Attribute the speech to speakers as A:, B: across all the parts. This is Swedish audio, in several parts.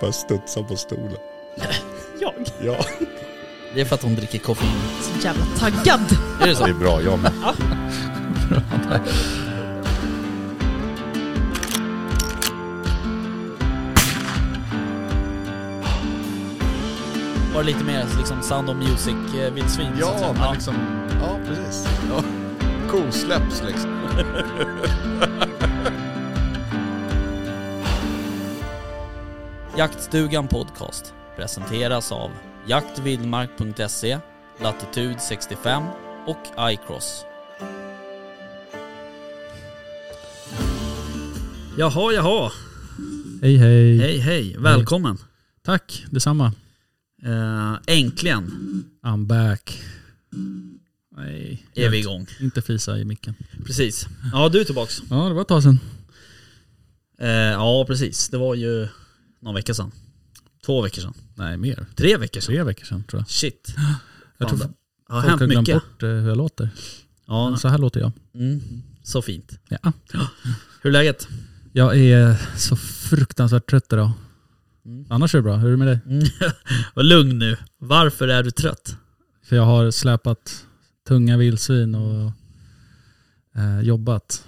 A: Bara studsa på stolen.
B: Jag?
A: Ja.
C: Det är för att hon dricker koffein.
B: Så jävla taggad.
C: Är det
A: Det är
C: så?
A: bra, jag med.
C: Var det lite mer liksom Sound of eh, Music-vildsvin?
A: Ja, men liksom... Ja, precis. Ja. Kosläpps liksom.
C: Jaktstugan Podcast presenteras av jaktvildmark.se, Latitude 65 och iCross. Jaha, jaha.
D: Hej hej.
C: Hej, hej. Välkommen.
D: Tack, detsamma.
C: Eh, äntligen
D: I'm back. Nej,
C: är vi igång.
D: inte fisa i micken.
C: Precis. Ja, du är tillbaks.
D: Ja, det var ett tag sedan.
C: Eh, ja, precis. Det var ju någon vecka sedan. Två veckor sedan.
D: Nej, mer.
C: Tre veckor sedan.
D: Tre veckor sedan tror jag.
C: Shit. Fan,
D: Jag tror
C: det har
D: folk har
C: hänt
D: glömt
C: mycket.
D: bort eh, hur jag låter.
C: Ja,
D: Så här låter jag.
C: mm, så fint.
D: Ja.
C: Hur är läget?
D: Jag är så fruktansvärt trött idag. Annars är det bra. Hur är det med dig?
C: Var lugn nu. Varför är du trött?
D: För jag har släpat tunga vildsvin och eh, jobbat.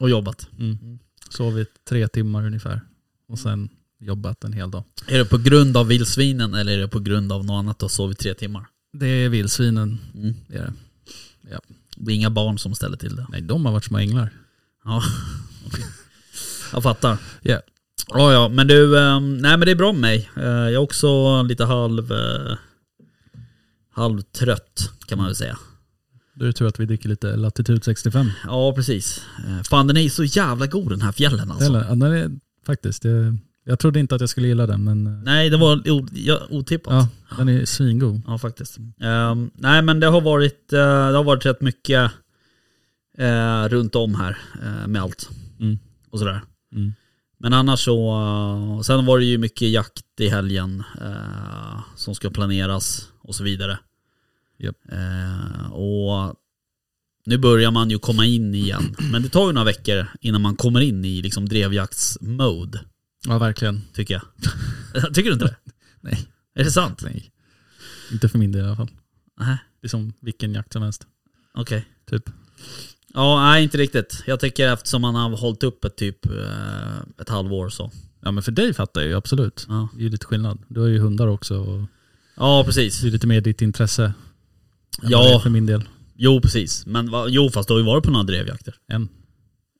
C: Och jobbat.
D: Mm. Sovit tre timmar ungefär. Och sen jobbat en hel dag.
C: Är det på grund av vildsvinen eller är det på grund av något annat och sovit tre timmar?
D: Det är vildsvinen.
C: Mm.
D: Det är det.
C: Det är inga barn som ställer till det.
D: Nej, de har varit små änglar.
C: Ja, jag fattar.
D: Ja.
C: Ja, ja, men du, eh, nej men det är bra med mig. Eh, Jag är också lite halv, eh, halvtrött kan man väl säga.
D: Då är det tur att vi dricker lite Latitud 65.
C: Ja, precis. Eh, Fan den är så jävla god den här fjällen alltså.
D: Eller, ja, den är, faktiskt, det, jag trodde inte att jag skulle gilla den men eh,
C: Nej, det var o- ja, otippat.
D: ja, den är svingod.
C: Ja, faktiskt. Ehm, nej, men det har varit, eh, det har varit rätt mycket eh, runt om här eh, med allt
D: Mm.
C: och sådär.
D: Mm.
C: Men annars så, eh, sen var det ju mycket jakt i helgen eh, som ska planeras och så vidare.
D: Japp.
C: Eh, och nu börjar man ju komma in igen, men det tar ju några veckor innan man kommer in i liksom drevjaktsmode,
D: Ja verkligen.
C: tycker jag. tycker du inte det?
D: Nej.
C: Är det sant?
D: Nej. Inte för min del i alla fall.
C: Nej.
D: Det är som vilken jakt som helst.
C: Okej.
D: Typ.
C: Ja, nej inte riktigt. Jag tycker eftersom man har hållit upp ett typ eh, ett halvår så.
D: Ja men för dig fattar jag ju absolut.
C: Ja,
D: Det är ju lite skillnad. Du har ju hundar också och
C: ja precis.
D: det är lite mer ditt intresse. än vad
C: Ja.
D: det är För min del.
C: Jo, precis. Men va, jo, fast du har ju varit på några drevjakter.
D: En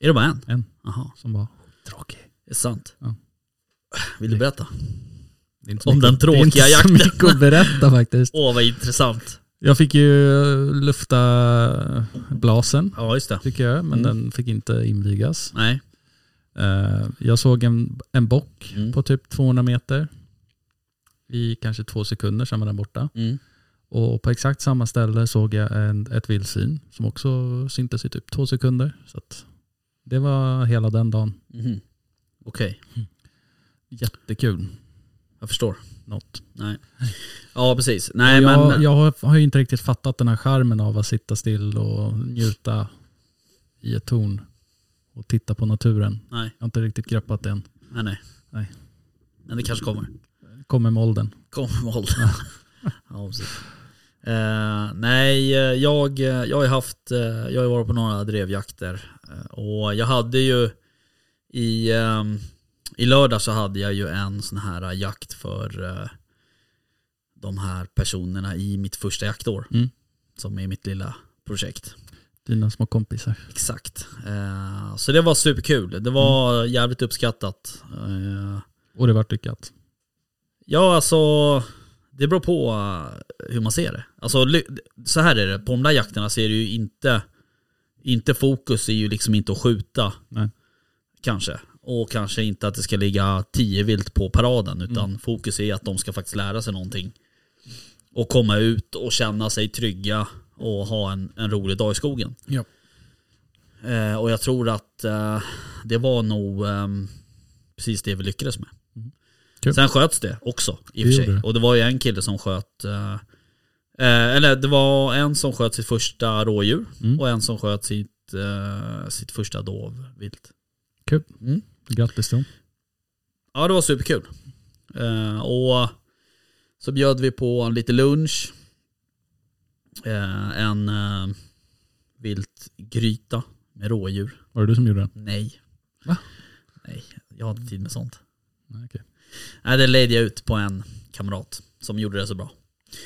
C: Är det bara en?
D: En.
C: Jaha,
D: som var tråkig.
C: det är sant.
D: Ja.
C: Vill du berätta?
D: Det är inte så
C: Om
D: mycket-
C: den tråkiga
D: Det är
C: jakten.
D: inte så mycket att berätta faktiskt.
C: Åh, vad intressant.
D: Jag fick ju lufta blasen
C: Ja, just det.
D: tycker jag men
C: Mm.
D: den fick inte invigas.
C: Nej.
D: Eh, jag såg en, en bock
C: Mm.
D: på typ 200 meter. I kanske två sekunder, sen var den borta.
C: Mm.
D: Och på exakt samma ställe såg jag en, ett vildsvin som också syntes i typ två sekunder. Så att det var hela den dagen.
C: Mhm. Okej,
D: Jättekul.
C: jag förstår.
D: Något.
C: Ja, precis. Nej,
D: jag,
C: men...
D: jag har, har ju inte riktigt fattat den här charmen av att sitta still och njuta i ett torn och titta på naturen.
C: Nej,
D: Jag har inte riktigt greppat det än.
C: nej, nej.
D: Nej.
C: Men det kanske kommer.
D: Kommer med åldern.
C: Kommer med åldern. ja, precis. Eh, nej, eh, jag, eh, jag har ju haft, eh, jag har ju varit på några drevjakter eh, och jag hade ju i, ehm, i lördag så hade jag ju en sån här eh, jakt för eh, de här personerna i mitt första jaktår
D: Mm.
C: som är mitt lilla projekt.
D: Dina små kompisar.
C: Exakt. Eh, så det var superkul. Det var jävligt uppskattat. Eh,
D: Och det vart lyckat.
C: Ja, alltså det beror på eh, hur man ser det. Alltså ly- så här är det, på de där jakterna så är det ju inte, inte fokus är ju liksom inte att skjuta.
D: Nej.
C: Kanske. Och kanske inte att det ska ligga tio vilt på paraden utan
D: Mm.
C: fokus är att de ska faktiskt lära sig någonting. Och komma ut och känna sig trygga och ha en, en rolig dag i skogen.
D: Ja.
C: Eh, och jag tror att eh, det var nog ehm, precis det vi lyckades med.
D: Mm. Kul.
C: Sen sköts det också i och för
D: Det
C: sig.
D: gjorde det.
C: Och det var ju en kille som sköt, eh, eh, eller det var en som sköt sitt första rådjur
D: Mm.
C: och en som sköt sitt, eh, sitt första dovvilt.
D: Kul.
C: Mm.
D: Grattis till dem.
C: Ja, det var superkul. Eh, och så bjöd vi på lite lunch. Eh, en eh, viltgryta med rådjur.
D: Var det du som gjorde den?
C: Nej.
D: Va?
C: Nej, jag har inte tid med sånt.
D: Nej, Okej,
C: Nej, det lejde jag ut på en kamrat som gjorde det så bra.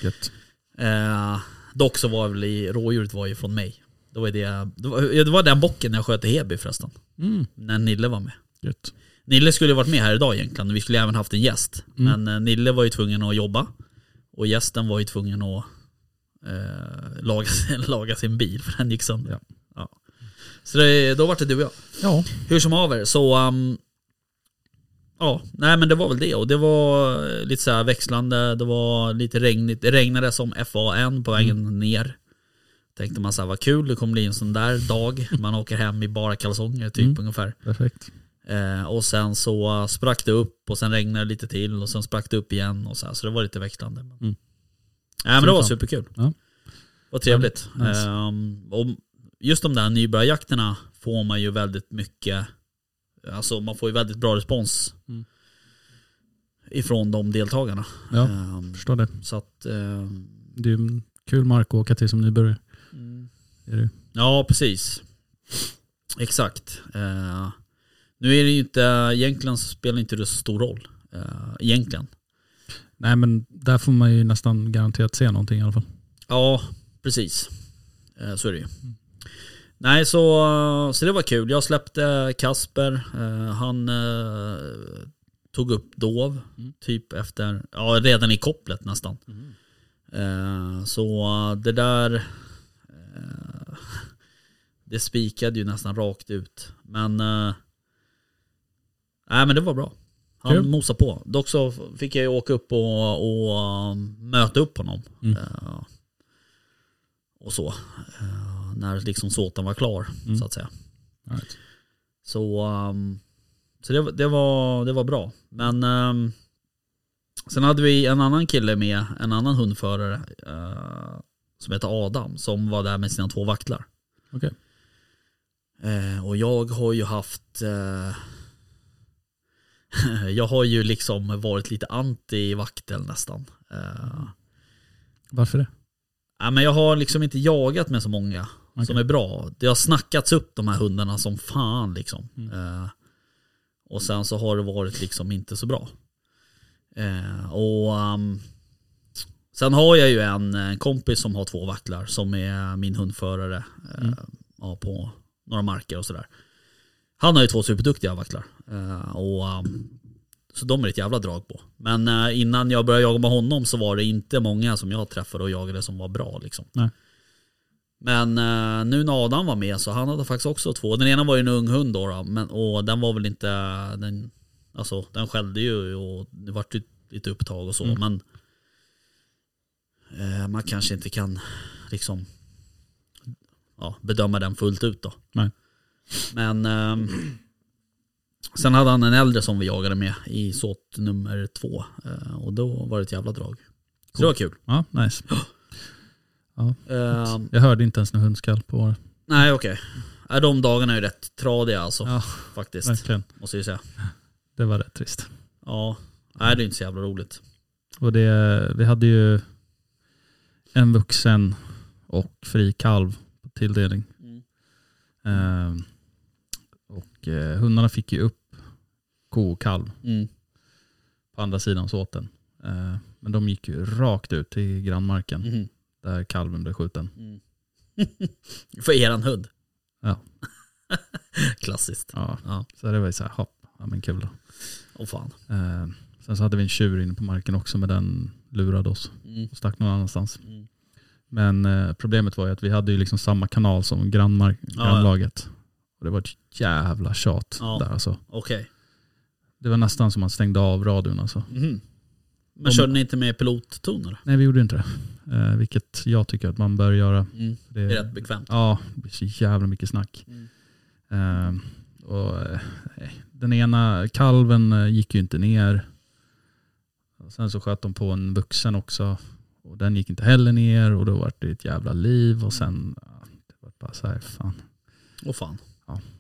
D: gött.
C: Eh, dock så var väl i, rådjuret var ju från mig. Det var, ju det, det, var, ja, det var den bocken jag sköt i Heby förresten.
D: Mm,
C: När Nille var med.
D: gött.
C: Nille skulle ju varit med här idag egentligen. Vi skulle även haft en gäst.
D: Mm.
C: Men eh, Nille var ju tvungen att jobba. Och gästen var ju tvungen att eh, laga, sin- laga sin bil för den gick sönder.
D: Ja.
C: Så det, då var det du och jag.
D: Ja,
C: Hur som haver så... ehm, ja, nej men det var väl det. Och det var eh, lite så här växlande. Det var lite regnigt. Det regnade som FAN på vägen ner. Tänkte man så här, vad kul det kommer bli en sån där dag. Man åker hem i bara kalsonger typ
D: Mm.
C: ungefär.
D: perfekt.
C: Eh, och sen så eh, sprack det upp och sen regnade det lite till och sen sprack det upp igen och så, här, så det var lite växlande. Men,
D: Mm.
C: Nej, men det var
D: Fy fan.
C: superkul.
D: Ja.
C: Vad trevligt.
D: Ja, nice.
C: Ehm, och just de där nybörjarjakterna får man ju väldigt mycket, alltså man får ju väldigt bra respons
D: Mm.
C: ifrån de deltagarna.
D: Ja.
C: Ehm,
D: Förstår det.
C: så att, ehm,
D: Det är ju en kul mark att åka till som nybörjare. Är det? ju.
C: Ja, precis. Exakt. Eh, nu är det ju inte, egentligen så spelar inte det så stor roll. Uh, egentligen.
D: Nej men där får man ju nästan garanterat se någonting i alla fall.
C: Ja, precis. Eh, så är det ju. Nej, så, eh, så det var kul. Jag släppte Kasper. Eh, han eh, tog upp Dov, typ efter, ja redan i kopplet nästan. Eh, så eh, det där, eh, det spikade ju nästan rakt ut. Men, eh, nej men det var bra. Han
D: Kul.
C: mosade på. Dock så fick jag ju åka upp och, och eh, möta upp honom.
D: Mm.
C: Eh, och så. Eh, när liksom såten var klar
D: Mm.
C: så att säga.
D: Right.
C: Så, ehm, så det, var- det, var, det var bra. Men ehm, sen hade vi en annan kille med, en annan hundförare eh, som heter Adam som var där med sina två vaktlar.
D: Okej.
C: Eh, och jag har ju haft eh, jag har ju liksom varit lite anti vaktel nästan. Eh,
D: Varför det?
C: ja, men jag har liksom inte jagat med så många som
D: Okej.
C: är bra. Det har snackats upp de här hundarna som fan liksom. Eh, och sen så har det varit liksom inte så bra. Eh, och ehm, Sen har jag ju en, eh, kompis som har två vacklar som är min hundförare eh, ja, på några marker och sådär. Han har ju två superduktiga vacklar. Eh, och, ehm, så de är ett jävla drag på. Men eh, innan jag började jaga med honom så var det inte många som jag träffade och jagade som var bra. Liksom.
D: Nej.
C: Men eh, nu när Adam var med så han hade faktiskt också två. Den ena var ju en ung hund då, då men, och den var väl inte, den, alltså den skällde ju och det vart ju lite upptag och så
D: Mm.
C: men eh, man kanske inte kan liksom ja, bedöma den fullt ut då.
D: Nej.
C: Men ehm, sen hade han en äldre som vi jagade med i såt nummer två eh, och då var det ett jävla drag. Så det var kul.
D: Ja, nice.
C: Ehm,
D: Jag hörde inte ens någon hundskall på året.
C: Nej okej. Okay. De dagarna är ju rätt tradiga alltså.
D: Ja.
C: Faktiskt.
D: Verkligen.
C: Måste jag säga.
D: Det var rätt trist.
C: Ja. Nej det är inte så jävla roligt.
D: Och det, vi hade ju en vuxen och fri kalv på tilldelning.
C: Mm.
D: Ehm, och eh, hundarna fick ju upp ko och kalv
C: Mm.
D: på andra sidan såten. Eh, men de gick ju rakt ut till grannmarken
C: Mhm.
D: där kalven blev skjuten.
C: Mm. För eran hund.
D: Ja.
C: Klassiskt.
D: Ja.
C: Ja.
D: Så det var ju så här, hopp, ja men kul då.
C: Åh fan.
D: Ehm, sen så hade vi en tjur inne på marken också men den lurade oss
C: Mm.
D: och stack någon annanstans.
C: Mm.
D: Men eh, problemet var ju att vi hade ju liksom samma kanal som grannmark-
C: ja.
D: grannlaget. Och det var ett jävla tjat
C: Ja.
D: där alltså.
C: Okej.
D: Det var nästan som att man stängde av radion alltså.
C: Mhm. Men
D: Om-
C: körde ni inte med pilottoner?
D: Nej vi gjorde inte det. Eh, vilket jag tycker att man bör göra.
C: Mm.
D: Det,
C: Det är rätt bekvämt.
D: Ja, det blir så jävla mycket snack.
C: Mm.
D: Ehm, och, eh, den ena kalven eh, gick ju inte ner. Och sen så sköt de på en vuxen också. Och den gick inte heller ner och då var det ett jävla liv. Och sen, ja, det var bara så här, fan.
C: Åh fan.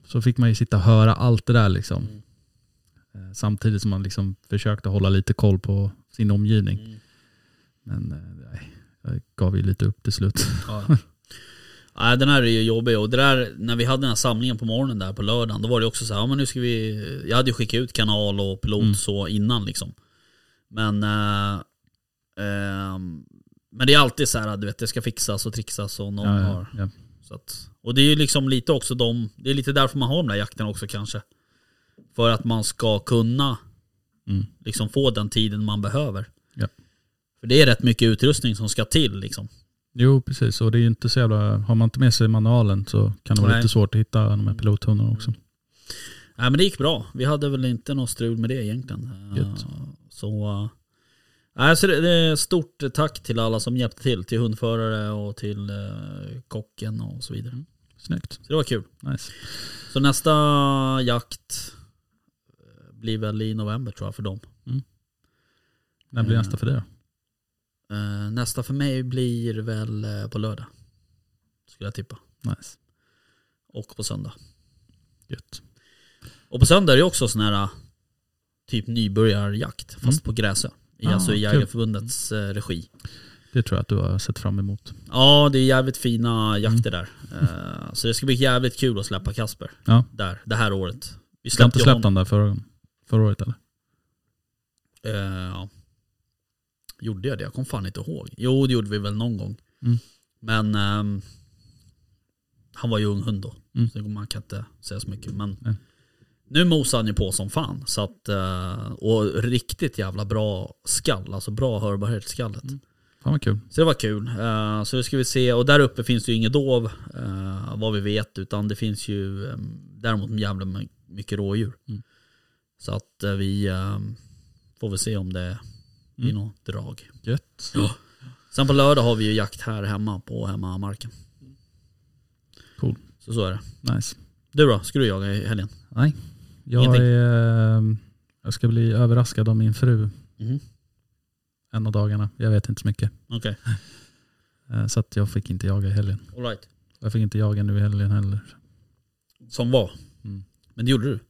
D: Så fick man ju sitta och höra allt det där liksom.
C: Mm.
D: Eh, samtidigt som man liksom försökte hålla lite koll på sin omgivning. Men eh, nej, jag gav ju lite upp till slut.
C: Ja. Nej, den här är ju jobbig och det där, när vi hade den här samlingen på morgonen där på lördagen, då var det också så här, ja, men nu ska vi, jag hade ju skickat ut kanal och pilot
D: Mm.
C: så innan liksom. Men, eh, ehm, men det är alltid så här, du vet det ska fixas och trixas och någon
D: Ja,
C: har.
D: ja, ja.
C: Så att, och det är ju liksom lite också de, det är lite därför man har de där jakterna också kanske. För att man ska kunna
D: Mm.
C: liksom få den tiden man behöver.
D: Ja.
C: För det är rätt mycket utrustning som ska till liksom.
D: Jo, precis. Och det är ju inte så jävla, har man inte med sig manualen så kan det vara
C: Nej. Mm.
D: lite svårt att hitta de här pilothundarna också.
C: Nej men det gick bra. Vi hade väl inte något strul med det egentligen. Eh,
D: Gött.
C: Så, eh, nej, så det, det är stort tack till alla som hjälpte till. Till hundförare och till eh, kocken och så
D: Mm.
C: vidare.
D: Snyggt.
C: Så det var kul.
D: Nice.
C: Så nästa jakt eh, blir väl i november tror jag för dem.
D: När blir
C: Eh.
D: nästa för dig då?
C: Eh, nästa för mig blir väl eh, på lördag. Skulle jag tippa.
D: Nice.
C: Och på söndag.
D: Gött.
C: Och på söndag är det också sån här eh, typ nybörjarjakt fast på Gräsö. I,
D: Mm. Ah,
C: alltså i
D: kul.
C: Jägareförbundets eh, regi.
D: Det tror jag att du har sett fram emot.
C: Ja, det är jävligt fina jakter där. Eh, så det ska bli jävligt kul att släppa Kasper
D: Mm. Ja.
C: där, det här året. Vi
D: Du har inte
C: ju
D: släppt den där förra, förra året eller?
C: Eh, ja. Gjorde jag det? Jag kommer fan inte ihåg. Jo, det gjorde vi väl någon gång.
D: Mm.
C: Men ehm, han var ju ung hund då.
D: Mm.
C: Så man kan inte säga så mycket. Men
D: Nej.
C: nu mosade han ju på som fan. Så att, eh, och riktigt jävla bra skall. Alltså bra hörbarhet i skallet.
D: Mm. Fan vad kul.
C: Så det var kul. Eh, så det ska vi se. Och där uppe finns det ju inget dov, eh, vad vi vet, utan det finns ju eh, däremot jävla my- mycket rådjur.
D: Mm.
C: Så att eh, vi eh, får väl se om det blir
D: Mm.
C: något drag.
D: Gött.
C: Sen på lördag har vi ju jakt här hemma på hemmamarken.
D: Cool.
C: Så så är det.
D: Nice.
C: Du då? Ska du jaga i helgen?
D: Nej. Jag,
C: Ingenting.
D: är, eh, jag ska bli överraskad av min fru
C: Mhm.
D: en av dagarna. Jag vet inte så mycket.
C: Okej.
D: Eh, Så att jag fick inte jaga i helgen.
C: All right.
D: Jag fick inte jaga nu i helgen heller.
C: Som var.
D: Mm.
C: Men det gjorde du?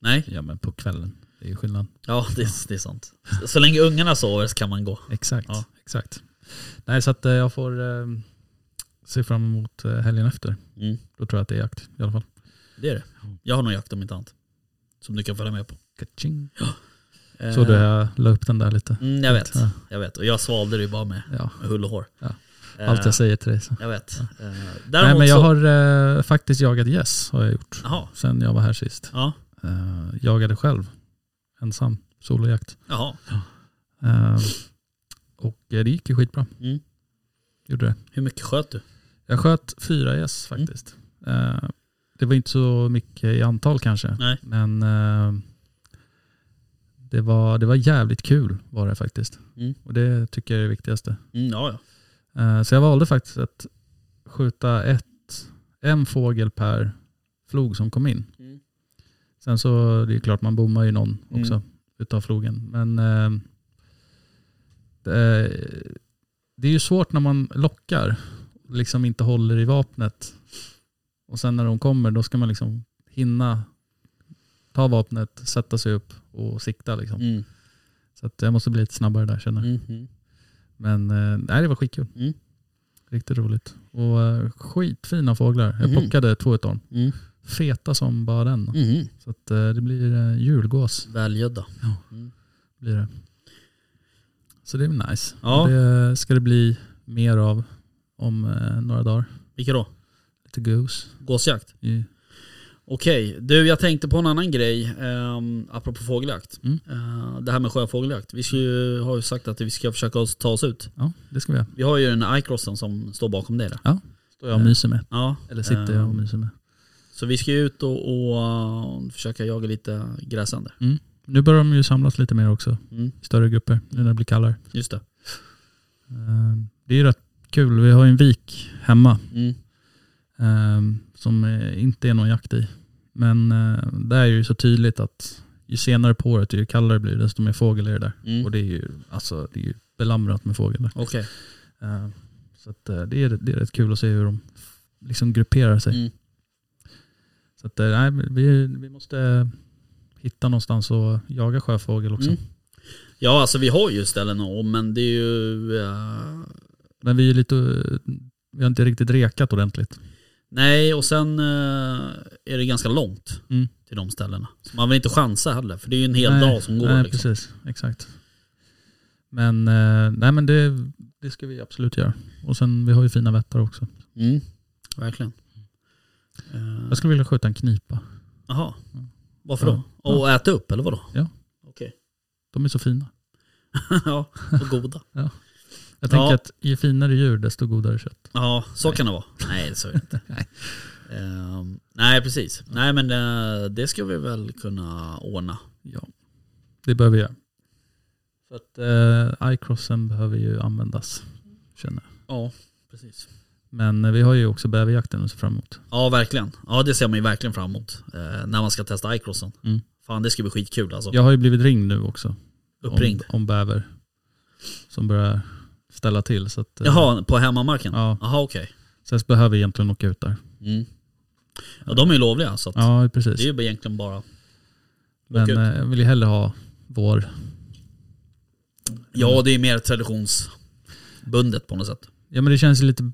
C: Nej?
D: Ja men på kvällen. Det är ju skillnad.
C: Ja, det, det är sant. Så, så länge ungarna sover så kan man gå.
D: Exakt.
C: Ja.
D: exakt. Nej så att eh, jag får eh, se fram emot eh, helgen efter.
C: Mm.
D: Då tror jag att det är jakt i alla fall.
C: Det är det. Jag har nog jakt om inte annat. Som du kan följa med på.
D: Kaching. Så du jag la upp den där lite?
C: Eh, Mm, jag vet,
D: Ja.
C: jag vet. Och jag svalde det ju bara med,
D: ja.
C: med hull och hår.
D: Ja. Allt jag
C: Eh,
D: säger till dig. Så.
C: Jag vet. Eh,
D: Nej,
C: Däremot
D: men jag
C: så...
D: har eh, faktiskt jagat gäss har jag gjort.
C: Jaha.
D: Sen jag var här sist.
C: Ja.
D: Eh, jagade själv. Ensam. Solojakt.
C: Jaha.
D: Eh, och eh, det gick ju skitbra.
C: Mm.
D: Gjorde det.
C: Hur mycket sköt du?
D: Jag sköt fyra gäss
C: Mm.
D: faktiskt. Eh, det var inte så mycket i antal kanske.
C: Nej.
D: Men eh, det, var, det var jävligt kul var det faktiskt.
C: Mm.
D: Och det tycker jag är det viktigaste.
C: Mm, ja, ja.
D: Eh, Så jag valde faktiskt att skjuta ett, en fågel per flog som kom in.
C: Mm.
D: Sen så, det är klart man bommar ju någon
C: Mm.
D: också utav flogen. Men eh, det, det är ju svårt när man lockar, liksom inte håller i vapnet. Och sen när de kommer, då ska man liksom hinna ta vapnet, sätta sig upp och sikta. Liksom.
C: Mm.
D: Så att jag måste bli lite snabbare där känner jag.
C: Mm. Mm.
D: Men eh, nej, det var skitkul.
C: Mm.
D: Riktigt roligt. Och eh, skitfina fåglar. Jag
C: Mhm.
D: plockade två utav dem.
C: Mm.
D: Feta som bara den.
C: Mm.
D: Så att, eh, det blir eh, julgås.
C: Välgödda.
D: Blir det. Så det är nice.
C: Ja.
D: Och Det ska det bli mer av om eh, några dagar.
C: Vilka då?
D: Lite goose.
C: Gåsjakt?
D: I,
C: Okej, du jag tänkte på en annan grej um, apropå fågeljakt.
D: Mm.
C: Eh, det här med sjöfågeljakt. Vi ska ju, har ju sagt att vi ska försöka oss- ta oss ut.
D: ja, det ska vi göra.
C: Vi har ju den här iCrossen som står bakom dig där.
D: Står jag och myser med.
C: Ja,
D: Eh. Eller sitter jag och
C: ehm,
D: myser med.
C: Så vi ska ju ut och, och uh, försöka jaga lite gräsänder.
D: Nu börjar de ju samlas lite mer också.
C: Mm,
D: I större grupper. Nu när det blir kallare.
C: just det.
D: Eh, det är ju rätt kul. Vi har ju en vik hemma.
C: Mm.
D: Ehm, som eh, inte är någon jakt i. Men eh, där är ju så tydligt att ju senare på året, ju kallare det blir, desto mer fågel är det där.
C: Mm.
D: Och det är ju, alltså, det är ju belamrat med fågel där.
C: Okej.
D: Ehm, så att, eh, det, är, det är rätt kul att se hur de liksom grupperar sig.
C: Mm.
D: Så att, eh, nej, vi, vi måste eh, hitta någonstans och jaga sjöfågel också.
C: Mm. Ja, alltså vi har ju ställen om, men det är ju... eh,
D: Men vi är lite, eh, vi har inte riktigt rekat ordentligt.
C: nej, och sen eh, är det ganska långt
D: Mm.
C: till de ställena. Så man vill inte chansa heller, för det är ju en hel
D: nej,
C: dag som går.
D: Nej,
C: liksom.
D: precis. Exakt. Men, eh, nej, men det, det ska vi absolut göra. Och sen, vi har ju fina vättar också.
C: mm, verkligen. Eh,
D: Jag skulle vilja skjuta en knipa.
C: Jaha, varför
D: Alltså- Ja.
C: då? Och äta upp eller vadå?
D: Ja.
C: Okej.
D: De är så fina.
C: ja, och goda.
D: Jag tänker
C: Ja.
D: att ju finare djur desto godare kött.
C: Ja, så kan det vara. Nej, så är det inte.
D: Nej.
C: Ehm, nej, precis. Nej, men eh, det ska vi väl kunna ordna.
D: Ja. Det behöver vi göra. Så att eh, iCrossen behöver ju användas. Känner jag.
C: Ja, precis.
D: Men eh, vi har ju också bäverjakten att se fram emot.
C: Ja, verkligen. Ja, det ser man ju verkligen fram emot. eh, när man ska testa iCrossen.
D: Mm.
C: Fan, det ska bli skitkul alltså.
D: Jag har ju blivit ringd nu också.
C: Uppringd.
D: Om, om bäver. Som börjar ställa till. Så att, eh,
C: Jaha, på hemmamarken?
D: Ja,
C: Jaha, okej.
D: så jag behöver egentligen åka ut där.
C: Mm. Ja, de är ju lovliga så att
D: Ja,
C: det
D: precis.
C: är ju egentligen bara...
D: Men
C: ut.
D: eh, jag vill ju hellre ha vår. Mm.
C: Ja, det är mer traditionsbundet på något sätt.
D: Ja men det känns ju lite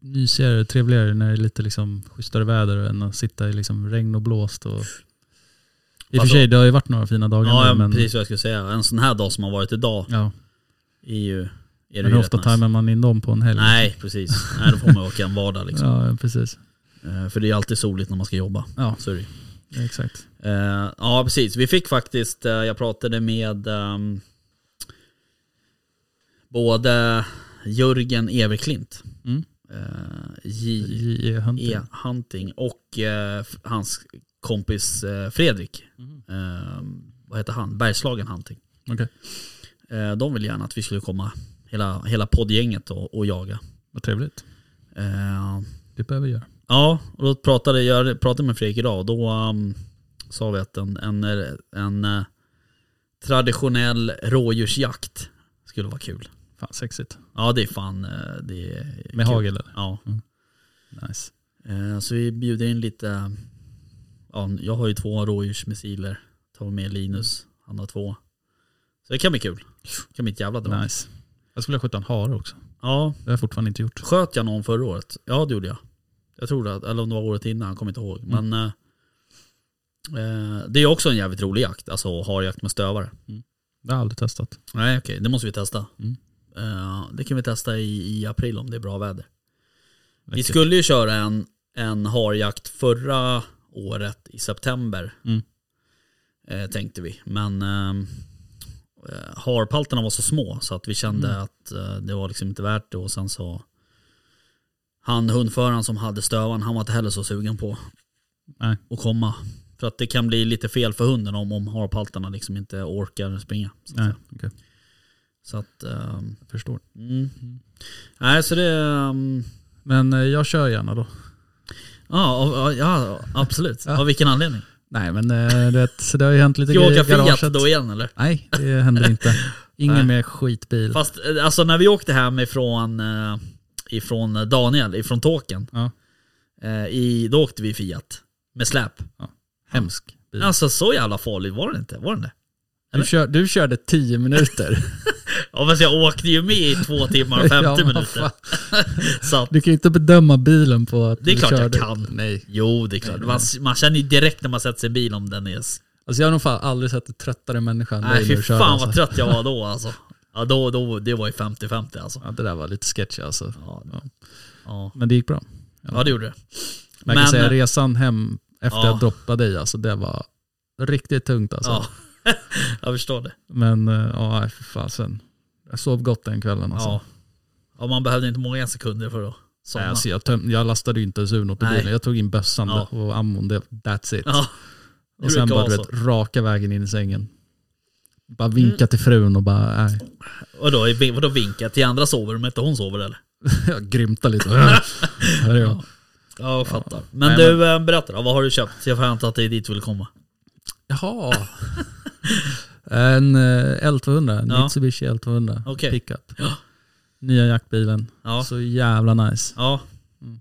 D: mysigare, trevligare när det är lite liksom schysstare väder än att sitta i liksom regn och blåst. Och... I och för
C: Vadå?
D: sig, det har ju varit några fina dagar
C: Ja,
D: nu, men,
C: precis vad jag skulle säga. En sån här dag som har varit idag
D: ja.
C: är ju... Är det
D: men
C: ju
D: hur
C: rätt
D: ofta
C: nice.
D: tajmar man in dem på en helg?
C: Nej, precis. Nej, då får man åka en vardag liksom.
D: Ja, precis.
C: Eh, För det är alltid soligt när man ska jobba.
D: Ja,
C: Så är det ju.
D: exakt.
C: Eh, Ja, precis. Vi fick faktiskt, eh, jag pratade med ehm, både Jörgen Everklint,
D: Mm.
C: eh, J.
D: JE Hunting.
C: E. Hunting och eh, f- hans kompis eh, Fredrik.
D: Mm.
C: Eh, Vad heter han? Bergslagen Hunting.
D: Okej,
C: Eh, De ville gärna att vi skulle komma, hela, hela poddgänget, och, och jaga.
D: vad trevligt.
C: Eh,
D: Det behöver vi göra.
C: Ja, och då pratade jag pratade med Fredrik idag och då ehm, sa vi att en, en, en eh, traditionell rådjursjakt skulle vara kul.
D: Fan, sexigt.
C: Ja, det är fan eh, det är
D: Med
C: kul.
D: hagel eller?
C: Ja,
D: Nice.
C: eh, så vi bjuder in lite, ja, jag har ju två rådjursmissiler, tar med Linus, han har två. Så det kan bli kul. Det kan bli ett jävla drag.
D: Nice. Jag skulle vilja skjuta en hare också.
C: Ja,
D: Det har jag fortfarande inte gjort.
C: Sköt jag någon förra året? Ja det gjorde jag. Jag tror det, eller om det var året innan, jag kommer inte ihåg. Men eh, eh, det är också en jävligt rolig jakt, alltså harjakt med stövare.
D: Det har jag aldrig testat.
C: Nej okej, det måste vi testa.
D: Mm.
C: Eh, det kan vi testa i, i april om det är bra väder. Vi
D: Läckert.
C: skulle ju köra en, en harjakt förra året i september.
D: Mm.
C: Eh, tänkte vi. Men eh, eh, harpalterna var så små så att vi kände
D: Mm.
C: att eh, det var liksom inte värt det. Och sen så han hundföraren som hade stövan, han var inte heller så sugen på
D: Nej.
C: att komma. För att det kan bli lite fel för hunden om, om harpaltarna liksom inte orkar springa. Så att,
D: Nej,
C: säga.
D: okej.
C: Så att ehm,
D: Jag förstår.
C: mm. Nej, så det... ehm,
D: Men eh, jag kör gärna då.
C: Ja, ja, ja absolut.
D: Ja.
C: Av vilken anledning?
D: Nej men eh, du vet, så det har ju hänt lite
C: Ska vi
D: grejer i
C: åka Fiat
D: garaget.
C: då igen eller?
D: Nej, det händer inte. Ingen
C: Nej.
D: mer skitbil.
C: Fast eh, alltså när vi åkte hem ifrån, eh, ifrån Daniel, ifrån Tåken.
D: Ja.
C: eh, i, då åkte vi Fiat med släp.
D: Hemsk bil.
C: Alltså så jävla farligt var det inte. Var det inte?
D: du, kör, du körde 10 minuter.
C: Ja fast jag åkte ju med i två timmar och
D: Ja,
C: 50
D: vad
C: minuter.
D: fan.
C: Så att,
D: Du kan ju inte bedöma bilen på att
C: Det är
D: du
C: klart jag
D: körde.
C: kan.
D: Nej.
C: jo det är klart, man, man känner ju direkt när man sätter sig i bil om den är... s-
D: Alltså jag har nog fan aldrig sett en tröttare människa än
C: Nej
D: dig när
C: fy
D: du körde.
C: fan
D: alltså.
C: vad trött jag var då alltså. Ja då, då, det var ju 50-50 alltså.
D: Ja, det där var lite sketchy alltså.
C: Ja,
D: Ja.
C: ja.
D: Men det gick bra.
C: ja det gjorde det.
D: Men jag
C: Men-
D: kan säga resan hem efter
C: Ja.
D: jag droppade dig, alltså det var riktigt tungt alltså.
C: Ja. jag förstår det.
D: Men eh, ja, nej, för fasen. Jag sov gott den kvällen alltså.
C: Ja. ja, man behövde inte många sekunder för att somna.
D: Nej, alltså jag, töm- jag lastade ju inte ens ur något i
C: Nej.
D: bilen. Jag tog in bössan
C: Ja.
D: och ammon. Det, that's it.
C: ja. det
D: och sen
C: brukar
D: bara du
C: vara Mm.
D: vet, raka vägen in i sängen. Bara vinka till frun och bara, nej.
C: Och då, vadå vinka? Till andra sover men inte hon sover eller?
D: Jag grymtar lite. Här är jag.
C: Ja, jag fattar. Men
D: Nej,
C: du, eh, berätta då. Vad har du köpt? Jag får anta att det är dit du vill komma.
D: Jaha. En eh, L200, en
C: Ja.
D: Mitsubishi L200
C: Okej.
D: pickup.
C: Ja.
D: Nya jaktbilen.
C: Ja.
D: Så Mm. jävla nice.
C: Ja,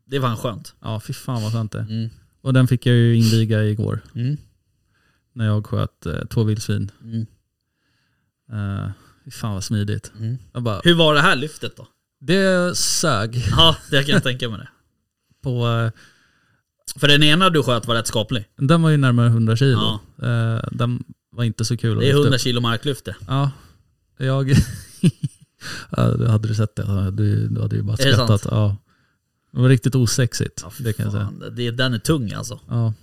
C: det var skönt.
D: Ja, fy fan vad skönt det är.
C: Mm.
D: Och den fick jag ju inviga igår.
C: Mm.
D: när jag sköt eh, två vildsvin.
C: Mm.
D: Eh, fy fan vad smidigt.
C: Mm.
D: Jag bara,
C: Hur var det här lyftet då?
D: det sög
C: Ja, det kan jag tänka mig det.
D: på... Eh,
C: För den ena du sköt var rätt skaplig.
D: den var ju närmare 100 kilo.
C: Ja.
D: Eh, den var inte så kul att
C: Det är
D: lyfta upp.
C: 100 kilo marklyft det.
D: Ja, jag... ja, du hade du sett det, du, du hade ju bara
C: Är det
D: skrattat.
C: sant?
D: Ja. Det var riktigt osexigt, det kan jag säga.
C: Fan, det, den är tung alltså.
D: Ja.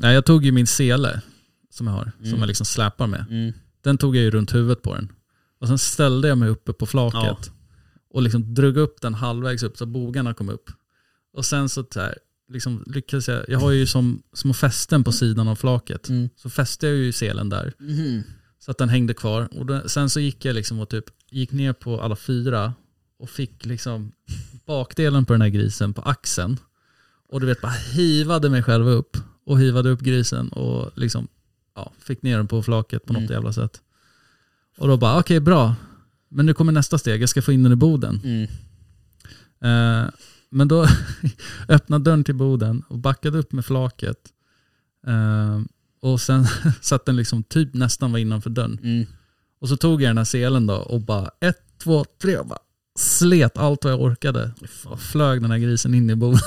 D: Nej, jag tog ju min sele som jag har,
C: Mm.
D: som jag liksom släpar med. Den tog jag ju runt huvudet på den. Och sen ställde jag mig uppe på flaket
C: Ja.
D: och liksom drog upp den halvvägs upp så att bogarna kom upp. Och sen så, så här, liksom lyckades jag, jag har ju som små fästen på sidan av flaket.
C: Mm. Mm-hmm.
D: Så fäste jag ju selen där. Så att den hängde kvar. Och den, sen så gick jag liksom och typ gick ner på alla fyra och fick liksom bakdelen på den här grisen på axeln. Och du vet bara hivade mig själv upp och hivade upp grisen och liksom ja, fick ner den på flaket på något jävla sätt. Och då bara okej bra, men nu kommer nästa steg, jag ska få in den i boden.
C: Mm.
D: Eh, men då öppnade dörren till boden och backade upp med flaket. Eh, och sen satt den liksom typ nästan var innanför dörren.
C: Mm.
D: Och så tog jag den här selen då och bara ett, två, tre och bara slet allt vad jag orkade. Och flög den här grisen in i boden.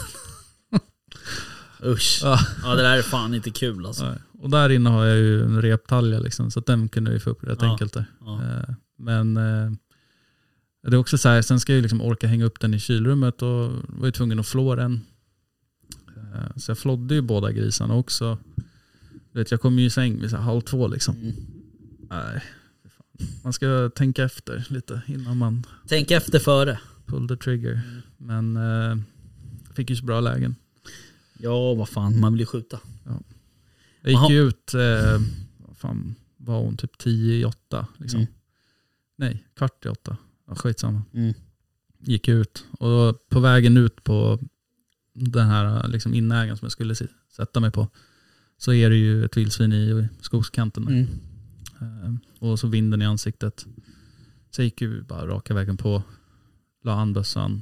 C: Usch.
D: Ja.
C: Ja det där är fan inte kul alltså.
D: Och där inne har jag ju en reptalja liksom, så att den kunde vi få upp rätt
C: Ja,
D: enkelt där.
C: ja.
D: Eh, Men eh, det är också så här, sen ska jag ju liksom orka hänga upp den i kylrummet och var ju tvungen att flå den. Eh, Så jag flådde ju båda grisarna också. Du vet, jag kom ju i säng vid så här halv två liksom.
C: Mm.
D: Nej, fy fan. man ska tänka efter lite innan man
C: Tänk efter före.
D: pull the trigger.
C: Mm.
D: Men eh, fick ju så bra lägen.
C: Ja vad fan, man vill ju skjuta.
D: Jag gick
C: Jaha.
D: ju ut, eh, vad fan var hon, typ 10 i åtta. Liksom.
C: Mm.
D: Nej, kvart i åtta. Ja, skitsamma.
C: Mm.
D: Gick ut och då på vägen ut på den här liksom, inägen som jag skulle si- sätta mig på så är det ju ett vildsvin i skogskanten. där.
C: Mm.
D: Eh, och så vinden i ansiktet. Så jag gick ju bara raka vägen på, la handbössan,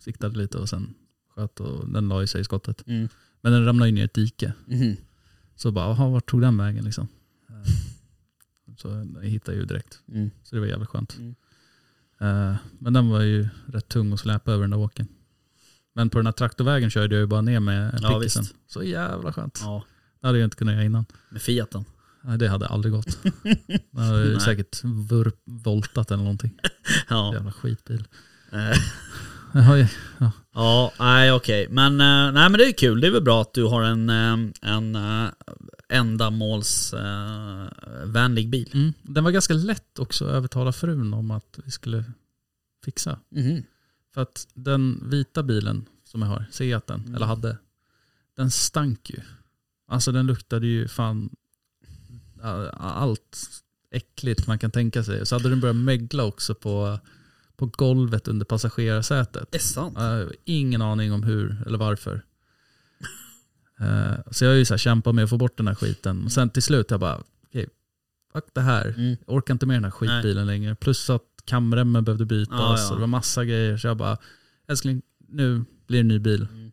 D: siktade lite och sen sköt och den la ju sig i skottet.
C: Mm.
D: Men den ramlade ju ner i ett dike.
C: Mhm.
D: Så bara, jaha, vart tog den vägen liksom? Eh, Så jag hittade ju direkt.
C: Mm.
D: Så det var jävligt skönt.
C: Mm.
D: Eh, Men den var ju rätt tung att släpa över den där åken. Men på den här traktorvägen körde jag ju bara ner med
C: Ja,
D: pickisen.
C: visst.
D: så jävla skönt.
C: Ja,
D: Det hade jag inte kunnat göra innan.
C: med Fiaten.
D: Nej, det hade aldrig gått. Den hade ju
C: Nej.
D: säkert vurp, voltat eller någonting.
C: Ja.
D: Jävla skitbil.
C: Eh,
D: Jag har ju- Ja.
C: Ja, nej okej. Men, eh, nej, men det är kul. Det är väl bra att du har en, eh, en ändamålsvänlig bil.
D: Mm. Den var ganska lätt också att övertala frun om att vi skulle fixa.
C: Mm.
D: För att den vita bilen som jag har, Seaten,
C: Mm.
D: eller hade, den stank ju. Alltså den luktade ju fan äh, allt äckligt man kan tänka sig. Så hade den börjat mögla också på, på golvet under passagerarsätet.
C: Det är sant.
D: Äh, ingen aning om hur eller varför. Eh, så jag har ju så här kämpat med att få bort den här skiten. Och sen till slut jag bara, okej, fuck det här.
C: Mm.
D: Jag orkar inte med den här skitbilen längre. Plus att kamremmen behövde bytas
C: Ja, ja.
D: och det var massa grejer. Så jag bara, älskling, nu blir det en ny bil.
C: Mm.